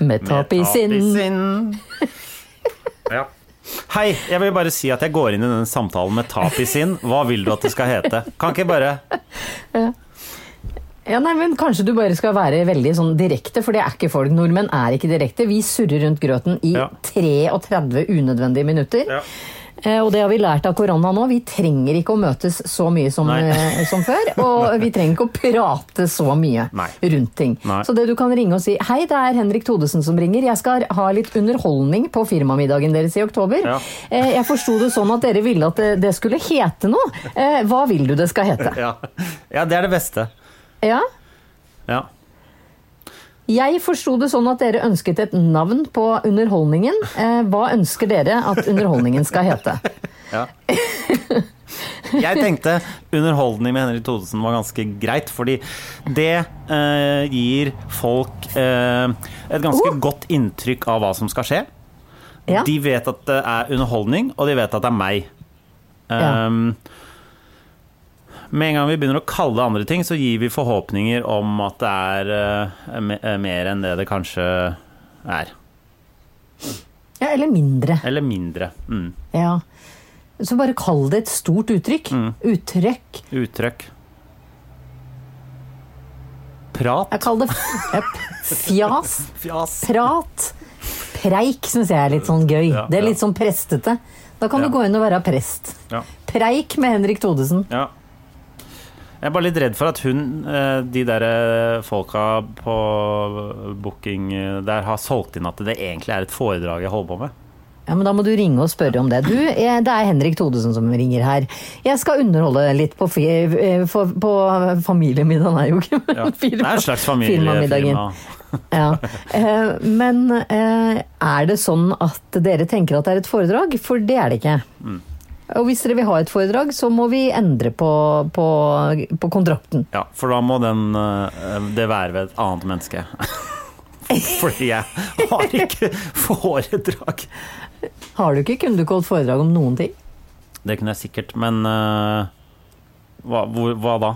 med tap i sinn.
Ja. Hei, jeg vil bare si at jeg går inn i denne samtalen med tap i sinn. Hva vil du at det skal hete? Kan ikke bare
Ja, nei, men Kanskje du bare skal være veldig sånn direkte, for det er ikke folk. Nordmenn er ikke direkte. Vi surrer rundt grøten i
Ja.
33 unødvendige minutter.
Ja.
Eh, Og det har vi lært av korona nå. Vi trenger ikke å møtes så mye som,
Nei.
eh, som før. Og vi trenger ikke å prate så mye
Nei.
rundt ting.
Nei.
Så det du kan ringe og si Hei, det er Henrik Thodesen som ringer. Jeg skal ha litt underholdning på firmamiddagen deres i oktober.
Ja.
Eh, Jeg forsto det sånn at dere ville at det- det skulle hete noe. Eh, Hva vil du det skal hete?
Ja, ja det er det beste.
Ja?
Ja.
Jeg forsto det sånn at dere ønsket et navn på underholdningen. Eh, Hva ønsker dere at underholdningen skal hete?
Jeg tenkte underholdning med Henrik Thodesen var ganske greit, fordi det eh, gir folk eh, et ganske godt inntrykk av hva som skal skje.
Oh. Ja.
De vet at det er underholdning, og de vet at det er meg.
Ja.
Ehm, Med en gang vi begynner å kalle det andre ting, så gir vi forhåpninger om at det er eh, me- eh, mer enn det det kanskje er.
Ja, eller mindre.
Eller mindre. Mm.
Ja. Så bare kall det et stort uttrykk.
Mm.
Uttrykk.
Uttrykk. Prat.
Jeg kaller det f- ja, p- fjas,
Fjas.
prat. Preik syns jeg er litt sånn gøy.
Ja,
det
ja.
er litt sånn prestete. Da kan
Ja.
du gå inn og være prest.
Ja.
Preik med Henrik Thodesen.
Ja. Jeg er bare litt redd for at hun, eh, de der eh, folka på booking eh, der, har solgt inn at det egentlig er et foredrag jeg holder på med.
Ja, men Da må du ringe og spørre om det. Du, jeg, Det er Henrik Thodesen som ringer her. Jeg skal underholde litt på, fi, eh, for, på familiemiddagen, er jo ikke men
Ja. Det
firma-
er en slags familiefirma.
firmamiddagen. Ja. Eh, Men eh, er det sånn at dere tenker at det er et foredrag? For det er det ikke.
Mm.
Og hvis dere vil ha et foredrag, så må vi endre på, på, på kontrakten.
Ja, for da må den, eh, det være ved et annet menneske. Fordi jeg har ikke foredrag.
Har du ikke? Kunne du ikke holdt foredrag om noen ting?
Det kunne jeg sikkert, men eh, hva, hvor, hva da?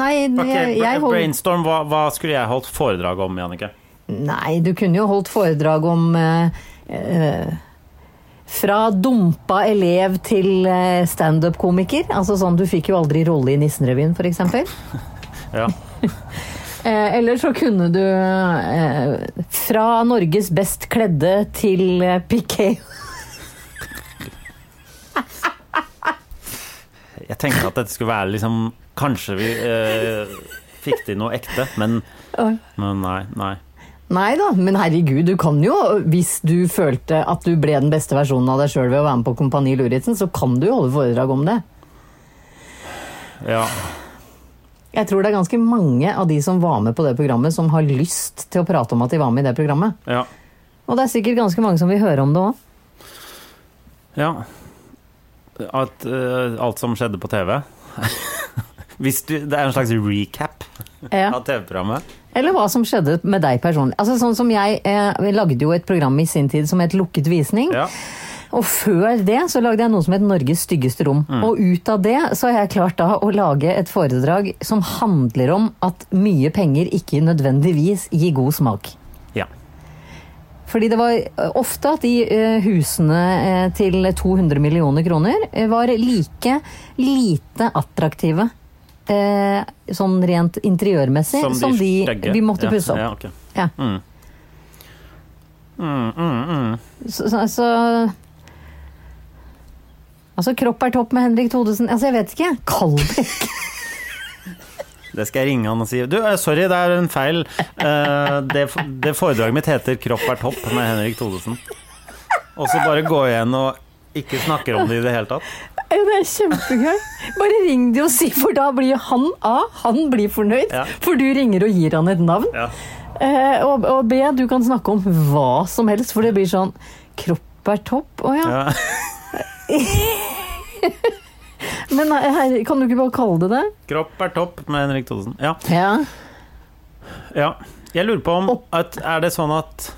Nei,
Ok,
jeg, jeg
bra-
holdt
Brainstorm, hva, hva skulle jeg holdt foredrag om, Jannicke?
Nei, du kunne jo holdt foredrag om eh, eh, Fra dumpa elev til eh, standup-komiker. Altså sånn du fikk jo aldri rolle i Nissenrevyen, f.eks.
Ja.
Eh, eller så kunne du eh, Fra Norges best kledde til eh, Piqué.
Jeg tenkte at dette skulle være liksom Kanskje vi eh, fikk til noe ekte, men,
Oi.
men nei. nei.
Nei da, men herregud, du kan jo, hvis du følte at du ble den beste versjonen av deg sjøl ved å være med på Kompani Luritzen, så kan du jo holde foredrag om det.
Ja.
Jeg tror det er ganske mange av de som var med på det programmet, som har lyst til å prate om at de var med i det programmet.
ja.
Og det er sikkert ganske mange som vil høre om det òg.
Ja. At, eh, alt som skjedde på TV. Hvis du, det er en slags recap
Ja.
av TV-programmet.
Eh, Eller hva som skjedde med deg personlig. Altså sånn som Jeg eh, vi lagde jo et program i sin tid som het Lukket visning.
Ja.
Og før det så lagde jeg noe som het Norges styggeste rom. Og ut av det så har jeg klart da å lage et foredrag som handler om at mye penger ikke nødvendigvis gir god smak.
ja.
Fordi det var eh, ofte at de eh, husene eh, til 200 millioner kroner eh, var like lite attraktive eh, sånn rent interiørmessig som, de,
stygge.
vi måtte
ja.
pusse opp.
Ja, ok.
Ja.
Mm. Mm, mm, mm.
Så, så, så Altså, kropp er topp med Henrik Thodesen. Altså, jeg vet ikke. Kall det
Det skal jeg ringe han og si. Du, eh, sorry, det er en feil. Eh, det, det foredraget mitt heter 'Kropp er topp' med Henrik Thodesen. Og så bare gå igjen og ikke snakker om det i det hele tatt.
Ja, det er kjempegøy. Bare ring de og si, for da blir han A, han blir fornøyd.
Ja.
For du ringer og gir han et navn.
Ja.
Eh, og, og B, du kan snakke om hva som helst, for det blir sånn Kropp er topp, å ja.
Ja.
Men nei, her, kan du ikke bare kalle det det?
'Kropp er topp' med Henrik Thodesen. Ja.
Ja.
ja. Jeg lurer på om at, Er det sånn at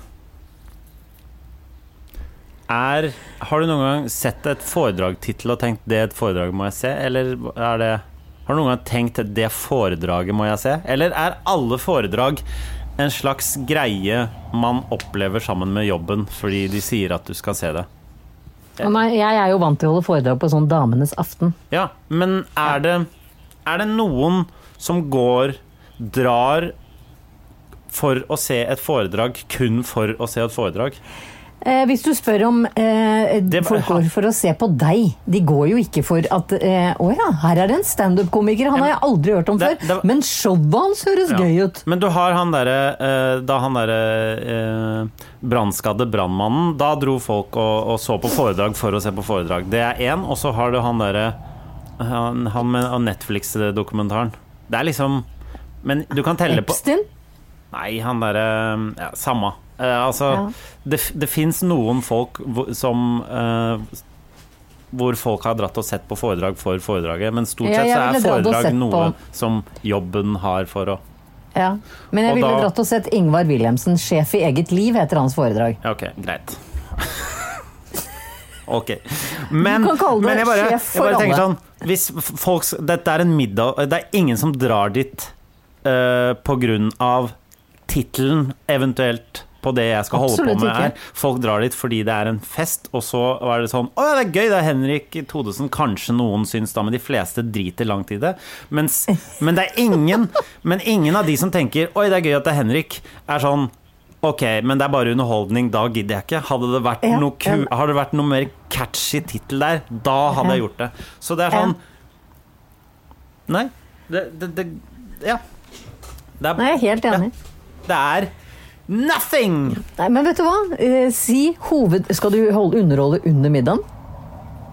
er, Har du noen gang sett et foredragtittel og tenkt 'det foredraget må jeg se', eller er det Har du noen gang tenkt 'det foredraget må jeg se', eller er alle foredrag en slags greie man opplever sammen med jobben fordi de sier at du skal se det?
Og Nei, jeg er jo vant til å holde foredrag på sånn Damenes aften.
Ja, men er det Er det noen som går Drar for å se et foredrag kun for å se et foredrag?
Eh, hvis du spør om eh,
Det var-
Folk går for å se på deg. De går jo ikke for at eh, Å ja, her er det en standup-komiker. Han har jeg aldri hørt om
det-
før.
det var-
Men showet hans høres
Ja.
gøy ut.
Men du har han derre eh, Da han derre eh, brannskadde brannmannen Da dro folk og, og så på foredrag for å se på foredrag. Det er én. Og så har du han derre han, han med av Netflix-dokumentaren. Det er liksom Men du kan telle på
Epstein?
Nei, han derre ja, Samme. Eh, altså,
Ja.
det, f- det fins noen folk hvor, som eh, Hvor folk har dratt og sett på foredrag for foredraget, men stort
Ja,
sett
jeg
så er
ville dratt og
foredrag
sett på-
noe som jobben har for å
Ja. Men jeg
Og
ville
da-
dratt og sett Ingvar Wilhelmsen, 'Sjef i eget liv', heter hans foredrag.
Ja, ok, greit. ok. Men,
Du kan kalle det
men jeg bare,
sjef
jeg
for
bare tenker
alle.
sånn Hvis f- folk s- Dette er en middag Det er ingen som drar dit eh, på grunn av tittelen, eventuelt, på det jeg skal holde
Absolutt
på med
ikke.
her. Folk drar dit fordi det er en fest, og så er det sånn Å, det er gøy, det er Henrik Thodesen. Kanskje noen syns da, men de fleste driter langt i det. Mens, men det er ingen Men ingen av de som tenker Oi, det er gøy at det er Henrik, er sånn Ok, men det er bare underholdning, da gidder jeg ikke. Hadde det vært,
Ja,
noe, ku,
ja.
hadde det vært noe mer catchy tittel der, da hadde jeg gjort det. Så det er
Ja.
sånn Nei. Det, det, det Ja. Det er,
Nei, jeg er helt enig.
det er nothing!
Nei, men vet du hva? Eh, si hoved... Skal du holde underholde under middagen?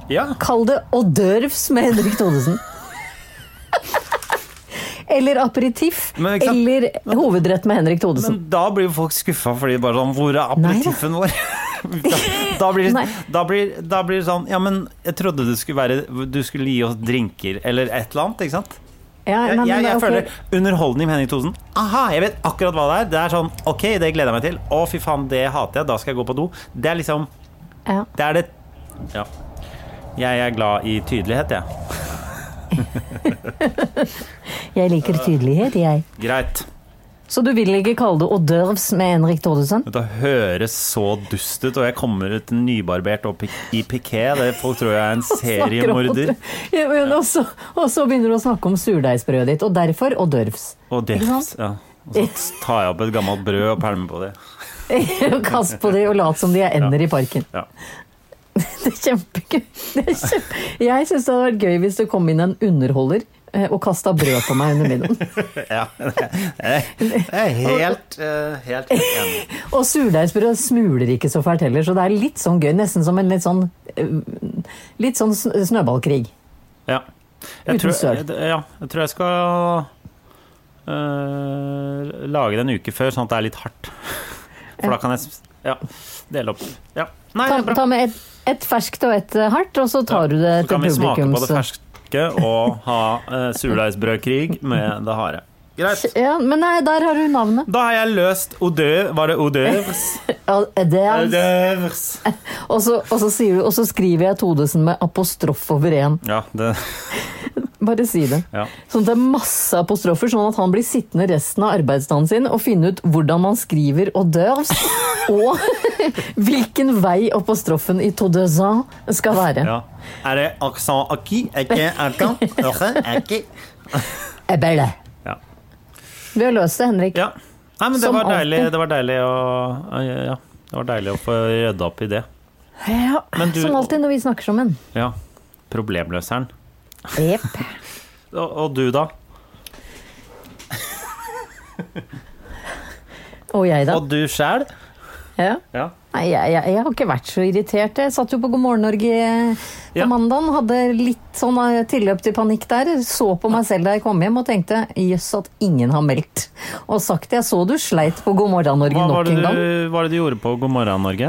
Ja.
Kall det hors d'oeuvres med Henrik Thodesen. eller aperitiff.
Men ikke sant?
Eller hovedrett med Henrik Thodesen.
Men da blir jo folk skuffa, fordi bare sånn Hvor er aperitiffen vår? Da, da, blir,
Nei.
da, blir, da blir det sånn Ja, men jeg trodde du skulle være Du skulle gi oss drinker eller et eller annet, ikke sant?
Ja,
Jeg,
nei, men
jeg, jeg
ok.
føler underholdning med Henning Thosen. Aha, jeg vet akkurat hva det er. Det er sånn OK, det gleder jeg meg til. Å, fy faen, det hater jeg. Da skal jeg gå på do. Det er liksom
Ja.
Det er det Ja. Jeg er glad i tydelighet, jeg.
Jeg liker tydelighet, jeg.
Greit.
Så du vil ikke kalle det hors d'oeuvres med Henrik Thodesen?
Dette høres så dust ut, og jeg kommer ut nybarbert og pik i piké. Det folk tror jeg er en seriemorder.
Ja, men også, og så begynner du å snakke om surdeigsbrødet ditt, og derfor hors d'oeuvres.
Og det,
Ikke sant?
ja. Og så tar jeg opp et gammelt brød og pælmer på det.
Kast på de og lat som de er ender i parken.
Ja.
Det er kjempegøy. Det er kjempe... Jeg syns det hadde vært gøy hvis det kom inn en underholder eh, og kasta brød på meg under middagen.
ja. Jeg er helt, eh, helt enig.
Og surdeigsbrød smuler ikke så fælt heller, så det er litt sånn gøy. Nesten som en litt sånn eh, Litt sånn sn- snøballkrig.
Ja. Jeg
Uten
tror,
søl.
jeg- Ja, jeg tror jeg skal øh, lage det en uke før, sånn at det er litt hardt. For da kan jeg s- ja, dele opp. Ja. Nei,
Ta,
det er bra.
ta med et, et ferskt og et eh, hardt, og så tar du det
Så
til
kan vi smake på
publikums
det ferske og ha uh, surdeigsbrødkrig med det harde. Greit.
Ja, men nei, der har du navnet.
Da har jeg løst odøv... Var det odøvs?
Ja, det er-
Odøvs.
Og så, og så sier du, og så skriver jeg Todesen med apostrof over én.
Ja, det
Bare si det.
Ja.
Sånn at det er masse apostrofer, sånn at han blir sittende resten av arbeidsdagen sin og finne ut hvordan man skriver hors d'oeuvres, og hvilken vei apostrofen i Todesen skal være.
ja. Er det accent acquis? Ikke accent? Accent acquis?
Eh, belle.
Ja.
Vi har løst det, Henrik.
Ja. Nei, men det
Som
var, deilig,
alltid.
det var deilig å Ja, det var deilig å få rydda opp i det.
Ja,
Men du-
Som alltid når vi snakker sammen.
Ja. Problemløseren.
Jepp.
Og, og du, da?
Og jeg, da.
Og du sjæl?
Ja.
Ja.
Nei, jeg, jeg, jeg har ikke vært så irritert. Jeg satt jo på God morgen Norge eh, på
Ja.
mandagen, hadde litt sånn eh, tilløp til panikk der. Så på meg selv da jeg kom hjem og tenkte jøss at ingen har meldt. Og sagt jeg så du sleit på God morgen Norge
Hva var
nok
det,
en gang.
du, var det du gjorde på God morgen, Norge?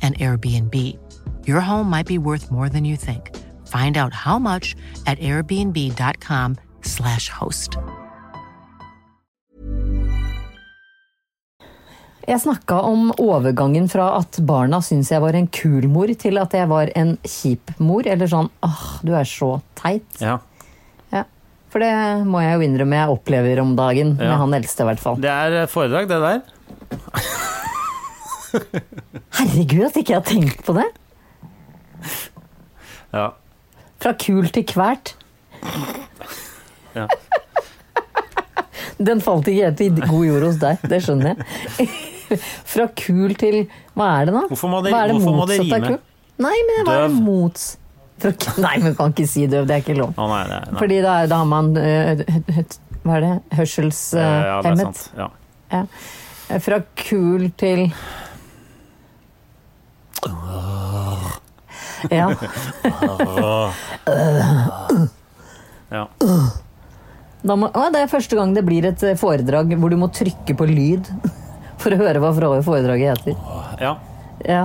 an Airbnb. Your home might be worth more than you think. Find out how much at airbnb.com/slash host.
Jeg snakka om overgangen fra at barna syntes jeg var en kul mor, til at jeg var en kjip mor. Eller sånn ah, du er så teit.
Ja.
Ja. For det må jeg jo innrømme jeg opplever om dagen, med
Ja.
han eldste i hvert fall.
Det er foredrag, det der.
Herregud, at ikke jeg har tenkt på det!
Ja.
Fra kul til kvært.
Ja.
Den falt ikke helt i god jord hos deg, det skjønner jeg. Fra kul til Hva er det, da?
Hvorfor må det-
hva er det
hvorfor må det
motsatte av
rime?
kul? Nei, men hva er det
Døv.
mots... Fra, nei, men kan ikke si døv, det er ikke lov.
Å nei, nei, nei.
Fordi da, er- da har man øh, hø- hø- Hva er
ja, det
det? eh,
er
Hørselshemmet.
sant. Ja.
Fra kul til Ja.
Ja.
Da må, å, det er første gang det blir et eh, foredrag hvor du må trykke på lyd for å høre hva fra- foredraget heter.
Ja.
Ja.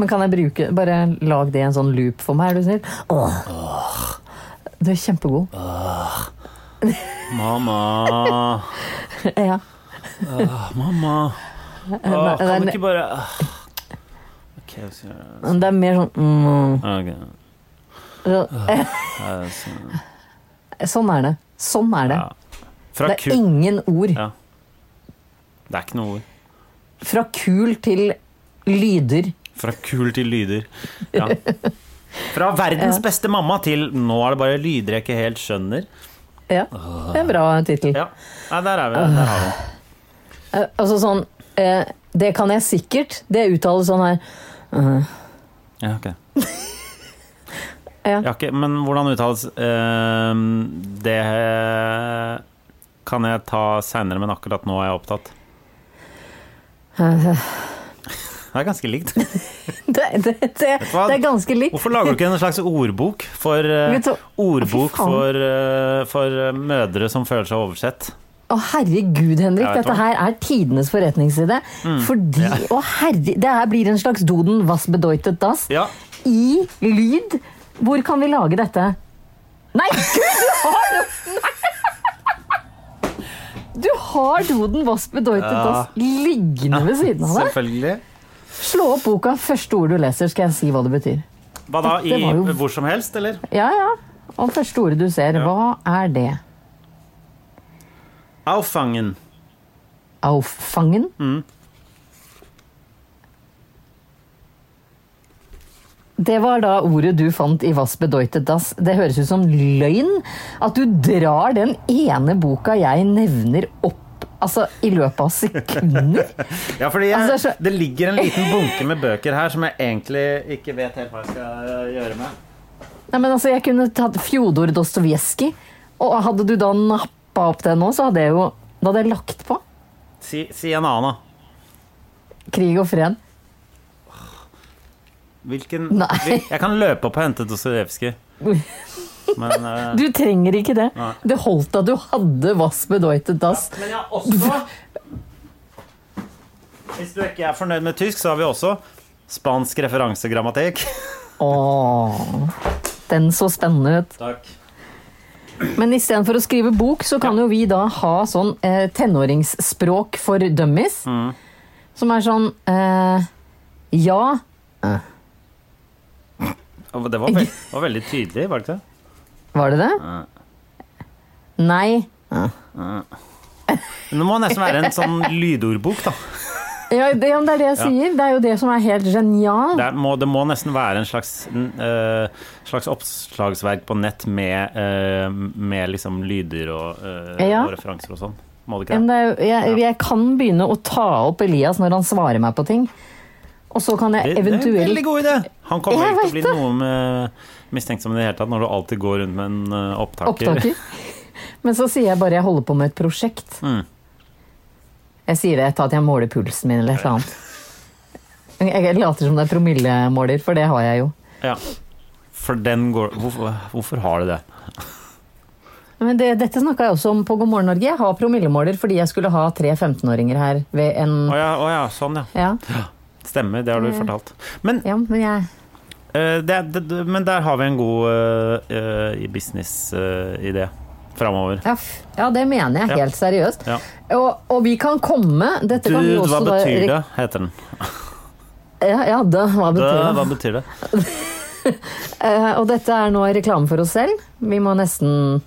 Men kan jeg bruke Bare lag det i en sånn loop for meg, er du snill. Åh. Du er kjempegod.
Mamma,
Ja.
mamma Åh,
nei,
Kan du
nei.
ikke bare Ok, så gjør jeg
Men det er mer sånn mm,
Ok.
så- eh,
Ja, så-
Sånn er det. Sånn er det.
ja. Fra
Det er
kul
ingen ord.
Ja. Det er ikke noe ord.
Fra kul til lyder.
Fra kul til lyder. Ja. Fra verdens beste mamma til nå er det bare lyder jeg ikke helt skjønner.
Ja. Det er en bra tittel.
Ja, Nei, der er vi. Der har vi den.
Eh, Altså sånn eh, Det kan jeg sikkert. Det uttales sånn her. eh,
Ja, ok.
Ja.
Jeg har ikke, men hvordan uttales ehm, Det eh, kan jeg ta seinere, men akkurat nå er jeg opptatt. Det er ganske likt.
Det, det, det, det
hva?
er ganske likt.
Hvorfor lager du ikke en slags ordbok for, eh,
Vet du-
ordbok
Å, fy faen.
for, eh, for eh, mødre som føler seg oversett?
Å, herregud, Henrik.
Jeg vet
Dette
hva. Mm.
her er tidenes forretningsside. Fordi Å, herre... Det her blir en slags Doden was bedeutet das.
Ja.
I lyd. Hvor kan vi lage dette? Nei, gud, du har jo Nei! Du har Doden was bedeutet
Ja.
das liggende ved siden av deg.
Selvfølgelig.
Slå opp boka. Første ord du leser, skal jeg si hva det betyr.
Hva da? I,
Dette var jo-
Hvor som helst, eller?
Ja, ja. Og første ordet du ser, hva er det?
Auffangen.
Auffangen? Det var da ordet du fant i Was bedeutet das. Det høres ut som løgn at du drar den ene boka jeg nevner opp altså, i løpet av sekunder.
Ja, fordi jeg,
Altså, det er så-
det ligger en liten bunke med bøker her som jeg egentlig ikke vet helt hva jeg skal eh, gjøre med.
Nei, men altså, jeg kunne tatt Fjodor Dostojevskij, og hadde du da nappa opp den nå, så hadde jeg jo da hadde jeg lagt på
Si, si en annen, da.
Krig og fred.
Hvilken
Nei.
hvil- Jeg kan løpe opp og hente Dostojevskij, men eh,
Du trenger ikke det.
Nei.
Det holdt at du hadde Was bedeutet das.
Men jeg har også Hvis du ikke er fornøyd med tysk, så har vi også spansk referansegrammatikk.
Åh, den så spennende ut.
Takk.
Men istedenfor å skrive bok, så kan jo vi da ha sånn eh, tenåringsspråk for dummies.
Mm.
Som er sånn eh, Ja.
Det var, veld, det var veldig tydelig, var det ikke det?
Var det det? Nei.
Men det må nesten være en sånn lydordbok, da.
Ja, det, ja, men det er det jeg sier. Det er jo det som er helt genialt.
Det, er, må, det må nesten være en slags, en, eh, slags oppslagsverk på nett med, eh, med liksom lyder og, eh,
Ja.
og referanser og sånn. Må det
Ja,
ikke
men
det?
det er jo, jeg, jeg kan begynne å ta opp Elias når han svarer meg på ting. Og så kan jeg
Det, det er en veldig
eventuelt
god idé! Han kommer
Jeg
ikke til å
vet
bli
det.
noe med mistenksom i det hele tatt, når du alltid går rundt med en eh, opptaker.
opptaker. Men så sier jeg bare jeg holder på med et prosjekt.
Mm.
Jeg sier det etter at jeg måler pulsen min eller et eller annet. Jeg later som det er promillemåler, for det har jeg jo.
Ja. For den går Hvorfor, hvorfor har du det?
Men det, dette snakka jeg også om på God morgen Norge. Jeg har promillemåler fordi jeg skulle ha tre 15-åringer her ved en
Å ja, å ja, sånn ja.
ja,
Stemmer, det har du fortalt. Men,
ja, men jeg
eh, det, det, det- men der har vi en god uh, business-idé eh, framover.
Ja, f- ja det mener jeg
Ja.
helt seriøst.
Ja.
Og, og vi kan komme Dette kan vi
Dude,
også
hva
da-
betyr det? heter den.
Ja, ja da, hva
Det,
betyr det?
hva betyr det?
Eh, og dette er nå reklame for oss selv. Vi må nesten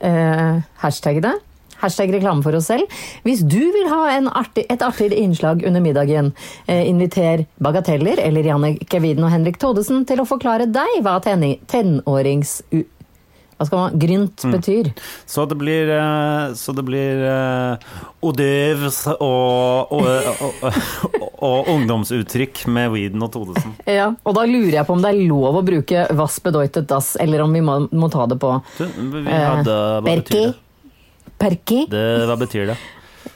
eh, hashtagge det. Hashtag reklame for oss selv. Hvis du vil ha en artig, et artig innslag under middagen, eh, inviter Bagateller eller Jannicke Widen og Henrik Thodesen til å forklare deg hva tenni- tenårings... u- Hva skal man Grynt
Mm.
betyr.
Så det blir eh, Så det blir eh, hors d'oeuvres og, og, og, og, og ungdomsuttrykk med Weeden og Todesen.
Ja, og da lurer jeg på om det er lov å bruke Was bedeutet das, eller om vi må, må ta det på
Du, vi
Eh,
hadde Hva
Perki.
betyr det?
Perki.
det? Hva betyr det?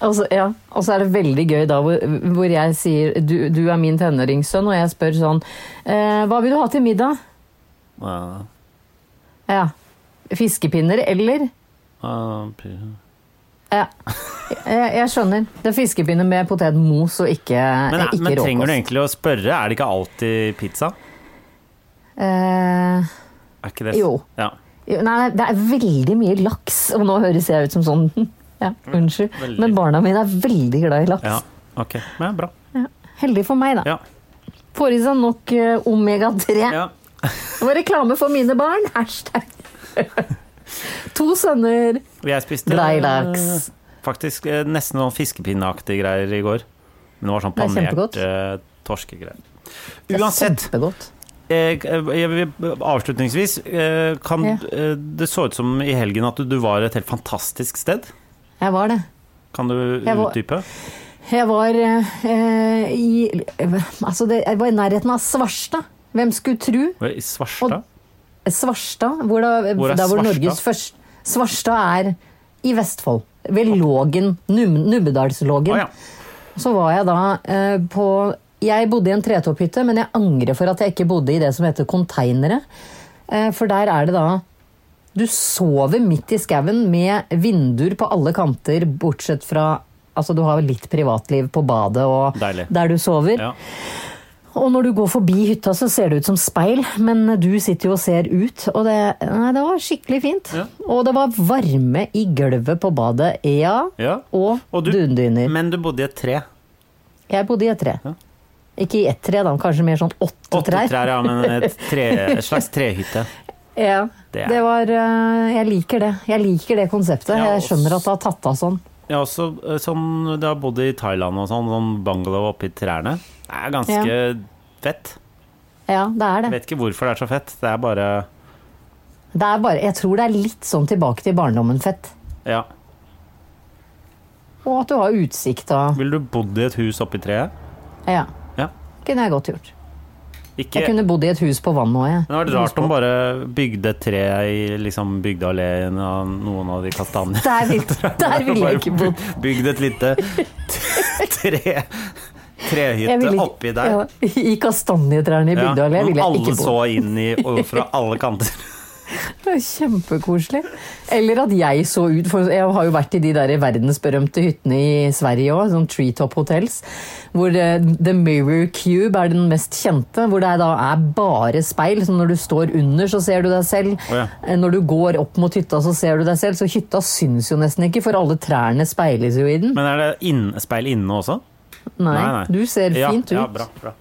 Og så, ja. og så er det veldig gøy da hvor, hvor jeg sier du, du er min tenåringssønn, og jeg spør sånn eh, Hva vil du ha til middag?
Ja.
Ja. Fiskepinner eller
Ah, p-
Ja. Jeg, jeg skjønner. Det er fiskepinner med potetmos og ikke,
Men,
ikke
men trenger du
råkost.
egentlig å spørre? Er det ikke alltid pizza?
Eh,
Er ikke det?
Jo.
Ja.
jo, nei, nei, det er veldig mye laks, og nå høres jeg ut som sånn ja, Unnskyld.
Veldig.
Men barna mine er veldig glad i laks.
ja. Ok. Men bra.
Heldig for meg, da.
Ja.
Får i seg nok eh, omega-3.
ja.
Det var reklame for mine barn. Hashtag. to sønner,
Og Jeg spiste
glad i
eh,
laks.
faktisk eh, nesten noen fiskepinneaktige greier i går. Men det var sånn
Det er
panert
kjempegodt.
eh, torskegreier.
Det er
Uansett,
Kjempegodt.
eh, jeg vil, avslutningsvis eh, kan,
Ja.
eh, Det så ut som i helgen at du, du var et helt fantastisk sted.
Jeg var det.
Kan du
Jeg var-
utdype?
Jeg var eh, i Altså, det, jeg var i nærheten av Svarstad. Hvem skulle tru?
I Svarstad?
Svarstad, hvor da,
Hvor er
der hvor
Svarstad?
Norges første Svarstad er i Vestfold. Ved Lågen. Num, Nubbedalslågen.
Å ja.
Så var jeg da eh, på Jeg bodde i en tretopphytte, men jeg angrer for at jeg ikke bodde i det som heter konteinere. Eh, for der er det da Du sover midt i skauen med vinduer på alle kanter, bortsett fra Altså, du har litt privatliv på badet og
Deilig.
der du sover.
ja.
Og når du går forbi hytta, så ser det ut som speil, men du sitter jo og ser ut. Og det, nei, det var skikkelig fint.
Ja.
Og det var varme i gulvet på badet, ja.
Ja.
Og,
Og du-
dundyner.
Men du bodde i et tre.
Jeg bodde i et tre.
Ja.
Ikke i ett tre, da, kanskje mer sånn åtte
Åtte
trær.
trær, ja, men et, tre, et slags trehytte.
Ja.
Det
Det,
er-
var eh, Jeg liker det. Jeg liker det konseptet.
Ja, og
jeg skjønner
s-
at det har tatt av sånn.
Ja, også eh, sånn da jeg bodde i Thailand og sånn, sånn bungalow oppi trærne. Det er ganske fett.
Ja, det er
Jeg
det.
vet ikke hvorfor det er så fett. Det er bare
det er bare, jeg tror det er litt sånn tilbake til barndommen-fett.
Ja.
Og at du har utsikt og
Ville du bodd i et hus oppi treet?
Ja.
Ja.
Kunne jeg godt gjort.
Ikke
Jeg kunne bodd i et hus på vannet òg, jeg.
Men det hadde vært rart om bare bygde et tre i liksom bygdealleen av noen av de kastanjene.
Der vil, der vil jeg ikke bo.
Bare Bygd et lite t- tre
Jeg
trehytte
vil ikke-
oppi der.
Ja, I kastanjetrærne i
Ja,
Bygdeallé vil jeg ikke
alle så
bo.
inn i og fra alle kanter.
Det er kjempekoselig. Eller at jeg så ut, for jeg har jo vært i de der verdensberømte hyttene i Sverige òg, sånn Treetop Hotels, hvor eh, The Mirror Cube er den mest kjente, hvor det da er bare speil, så når du står under, så ser du deg selv.
Å ja.
Eh, Når du går opp mot hytta, så ser du deg selv, så hytta syns jo nesten ikke, for alle trærne speiles jo i den.
Men er det inn, speil inne også?
Nei, du ser
ja,
fint ut.
Ja, bra, bra.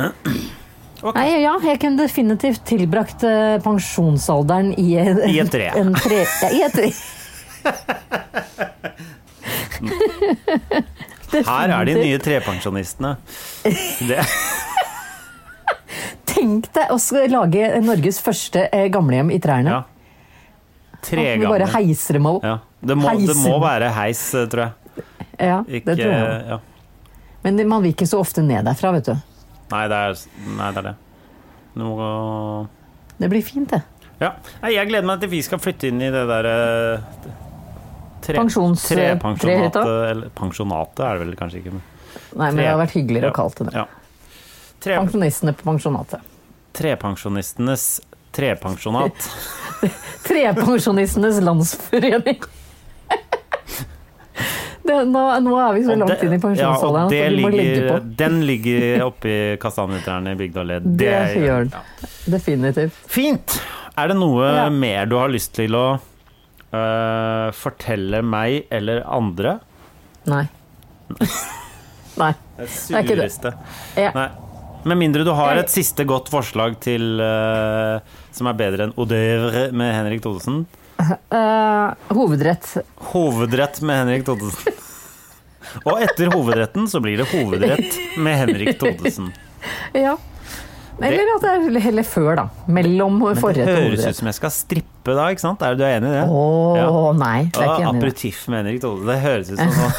Ja. Nei, ja, jeg kunne definitivt tilbrakt eh, pensjonsalderen i, en,
I et tre.
En tre ja, I et tre.
Her er de nye trepensjonistene. Det,
Tenk deg å skal lage Norges første eh, gamlehjem i trærne.
ja. Tre
Vi bare
ganger.
heiser dem opp.
Ja. Det, må, det
Heiser.
må være heis, eh, tror jeg.
Ja,
Ikke,
det tror jeg.
ja.
Men det- man vil ikke så ofte ned derfra, vet du.
Nei, det er, nei, det er det. Du må gå
Det blir fint, det.
Ja. Nei, jeg gleder meg til vi skal flytte inn i det der eh, tre,
Pensjons-
Trepensjonatet.
trehytta?
Eller pensjonatet er det vel kanskje ikke. men-
Nei, men
Tre.
det hadde vært hyggeligere
Ja.
å kalle det det.
Ja. Tre,
Pensjonistene på pensjonatet.
trepensjonistenes trepensjonat.
Trepensjonistenes landsforening. det, nå, nå er vi så
Og
langt
det-
inn i
ja,
pensjonsalderen
og
at
det
vi må legge
ligger,
på.
Den ligger oppi kastanjetrærne i Bygdalé.
Det, gjør den.
ja.
Definitivt.
Fint! Er det noe
Ja.
mer du har lyst til å øh, fortelle meg eller andre?
Nei. Nei.
Det
er ikke det.
sureste.
Ja.
Nei. Med mindre du har
Jeg-
et siste godt forslag til øh, som er bedre enn Odeur med Henrik Thodesen.
Eh, hovedrett.
Hovedrett med Henrik Thodesen. Og etter hovedretten så blir det hovedrett med Henrik Thodesen.
Ja. Eller at det er heller før, da. Mellom
Men det
forrett og
høres ut
hovedrett.
som jeg skal strippe da, ikke sant? Er du enig i det?
Å
Ja.
nei, det er
Ah,
ikke enig i det.
Aperitif med Henrik Thodesen. Det høres ut som sånn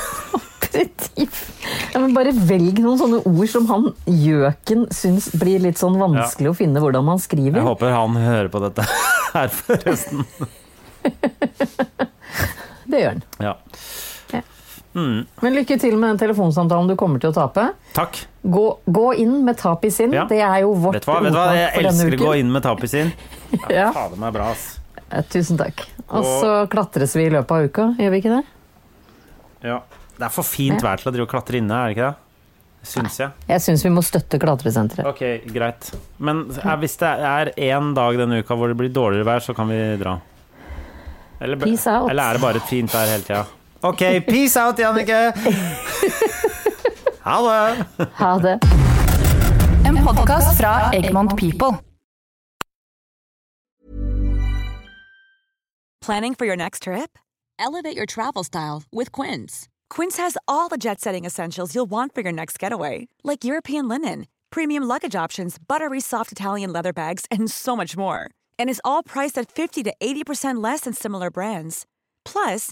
Aperitif. Ja, men bare velg noen sånne ord som han gjøken syns blir litt sånn vanskelig å finne hvordan man
Jeg
skriver.
håper han hører på dette her, forresten.
Det gjør han.
Ja.
Men lykke til med den telefonsamtalen du kommer til å tape.
Takk.
Gå, gå inn med tap i sinn.
Ja.
Det er jo vårt
Vet du hva, vet du hva?
ordtak
jeg
for denne
elsker å
uken.
gå inn med tapis inn.
Ja.
Fader meg bra, ass.
Eh, Tusen takk. Og så klatres vi i løpet av uka, gjør vi ikke det?
Ja. Det er for fint vær til å drive og klatre inne, er det ikke det? Syns jeg.
Jeg syns vi må støtte klatresenteret.
Ok, greit. Men eh, hvis det er én dag denne uka hvor det blir dårligere vær, så kan vi dra. Eller, b-
Peace out.
eller er det bare fint vær hele tida? Ok, peace out, Jannicke! ha det!
Ha det.
En podkast fra Egmont People.
Planning for your next trip? Elevate your travel style with Quince. Quince has all the jet setting essentials you'll want for your next getaway, like European linen, premium luggage options, buttery soft Italian leather bags, and so much more. And is all priced at 50 to 80% less than similar brands. Plus,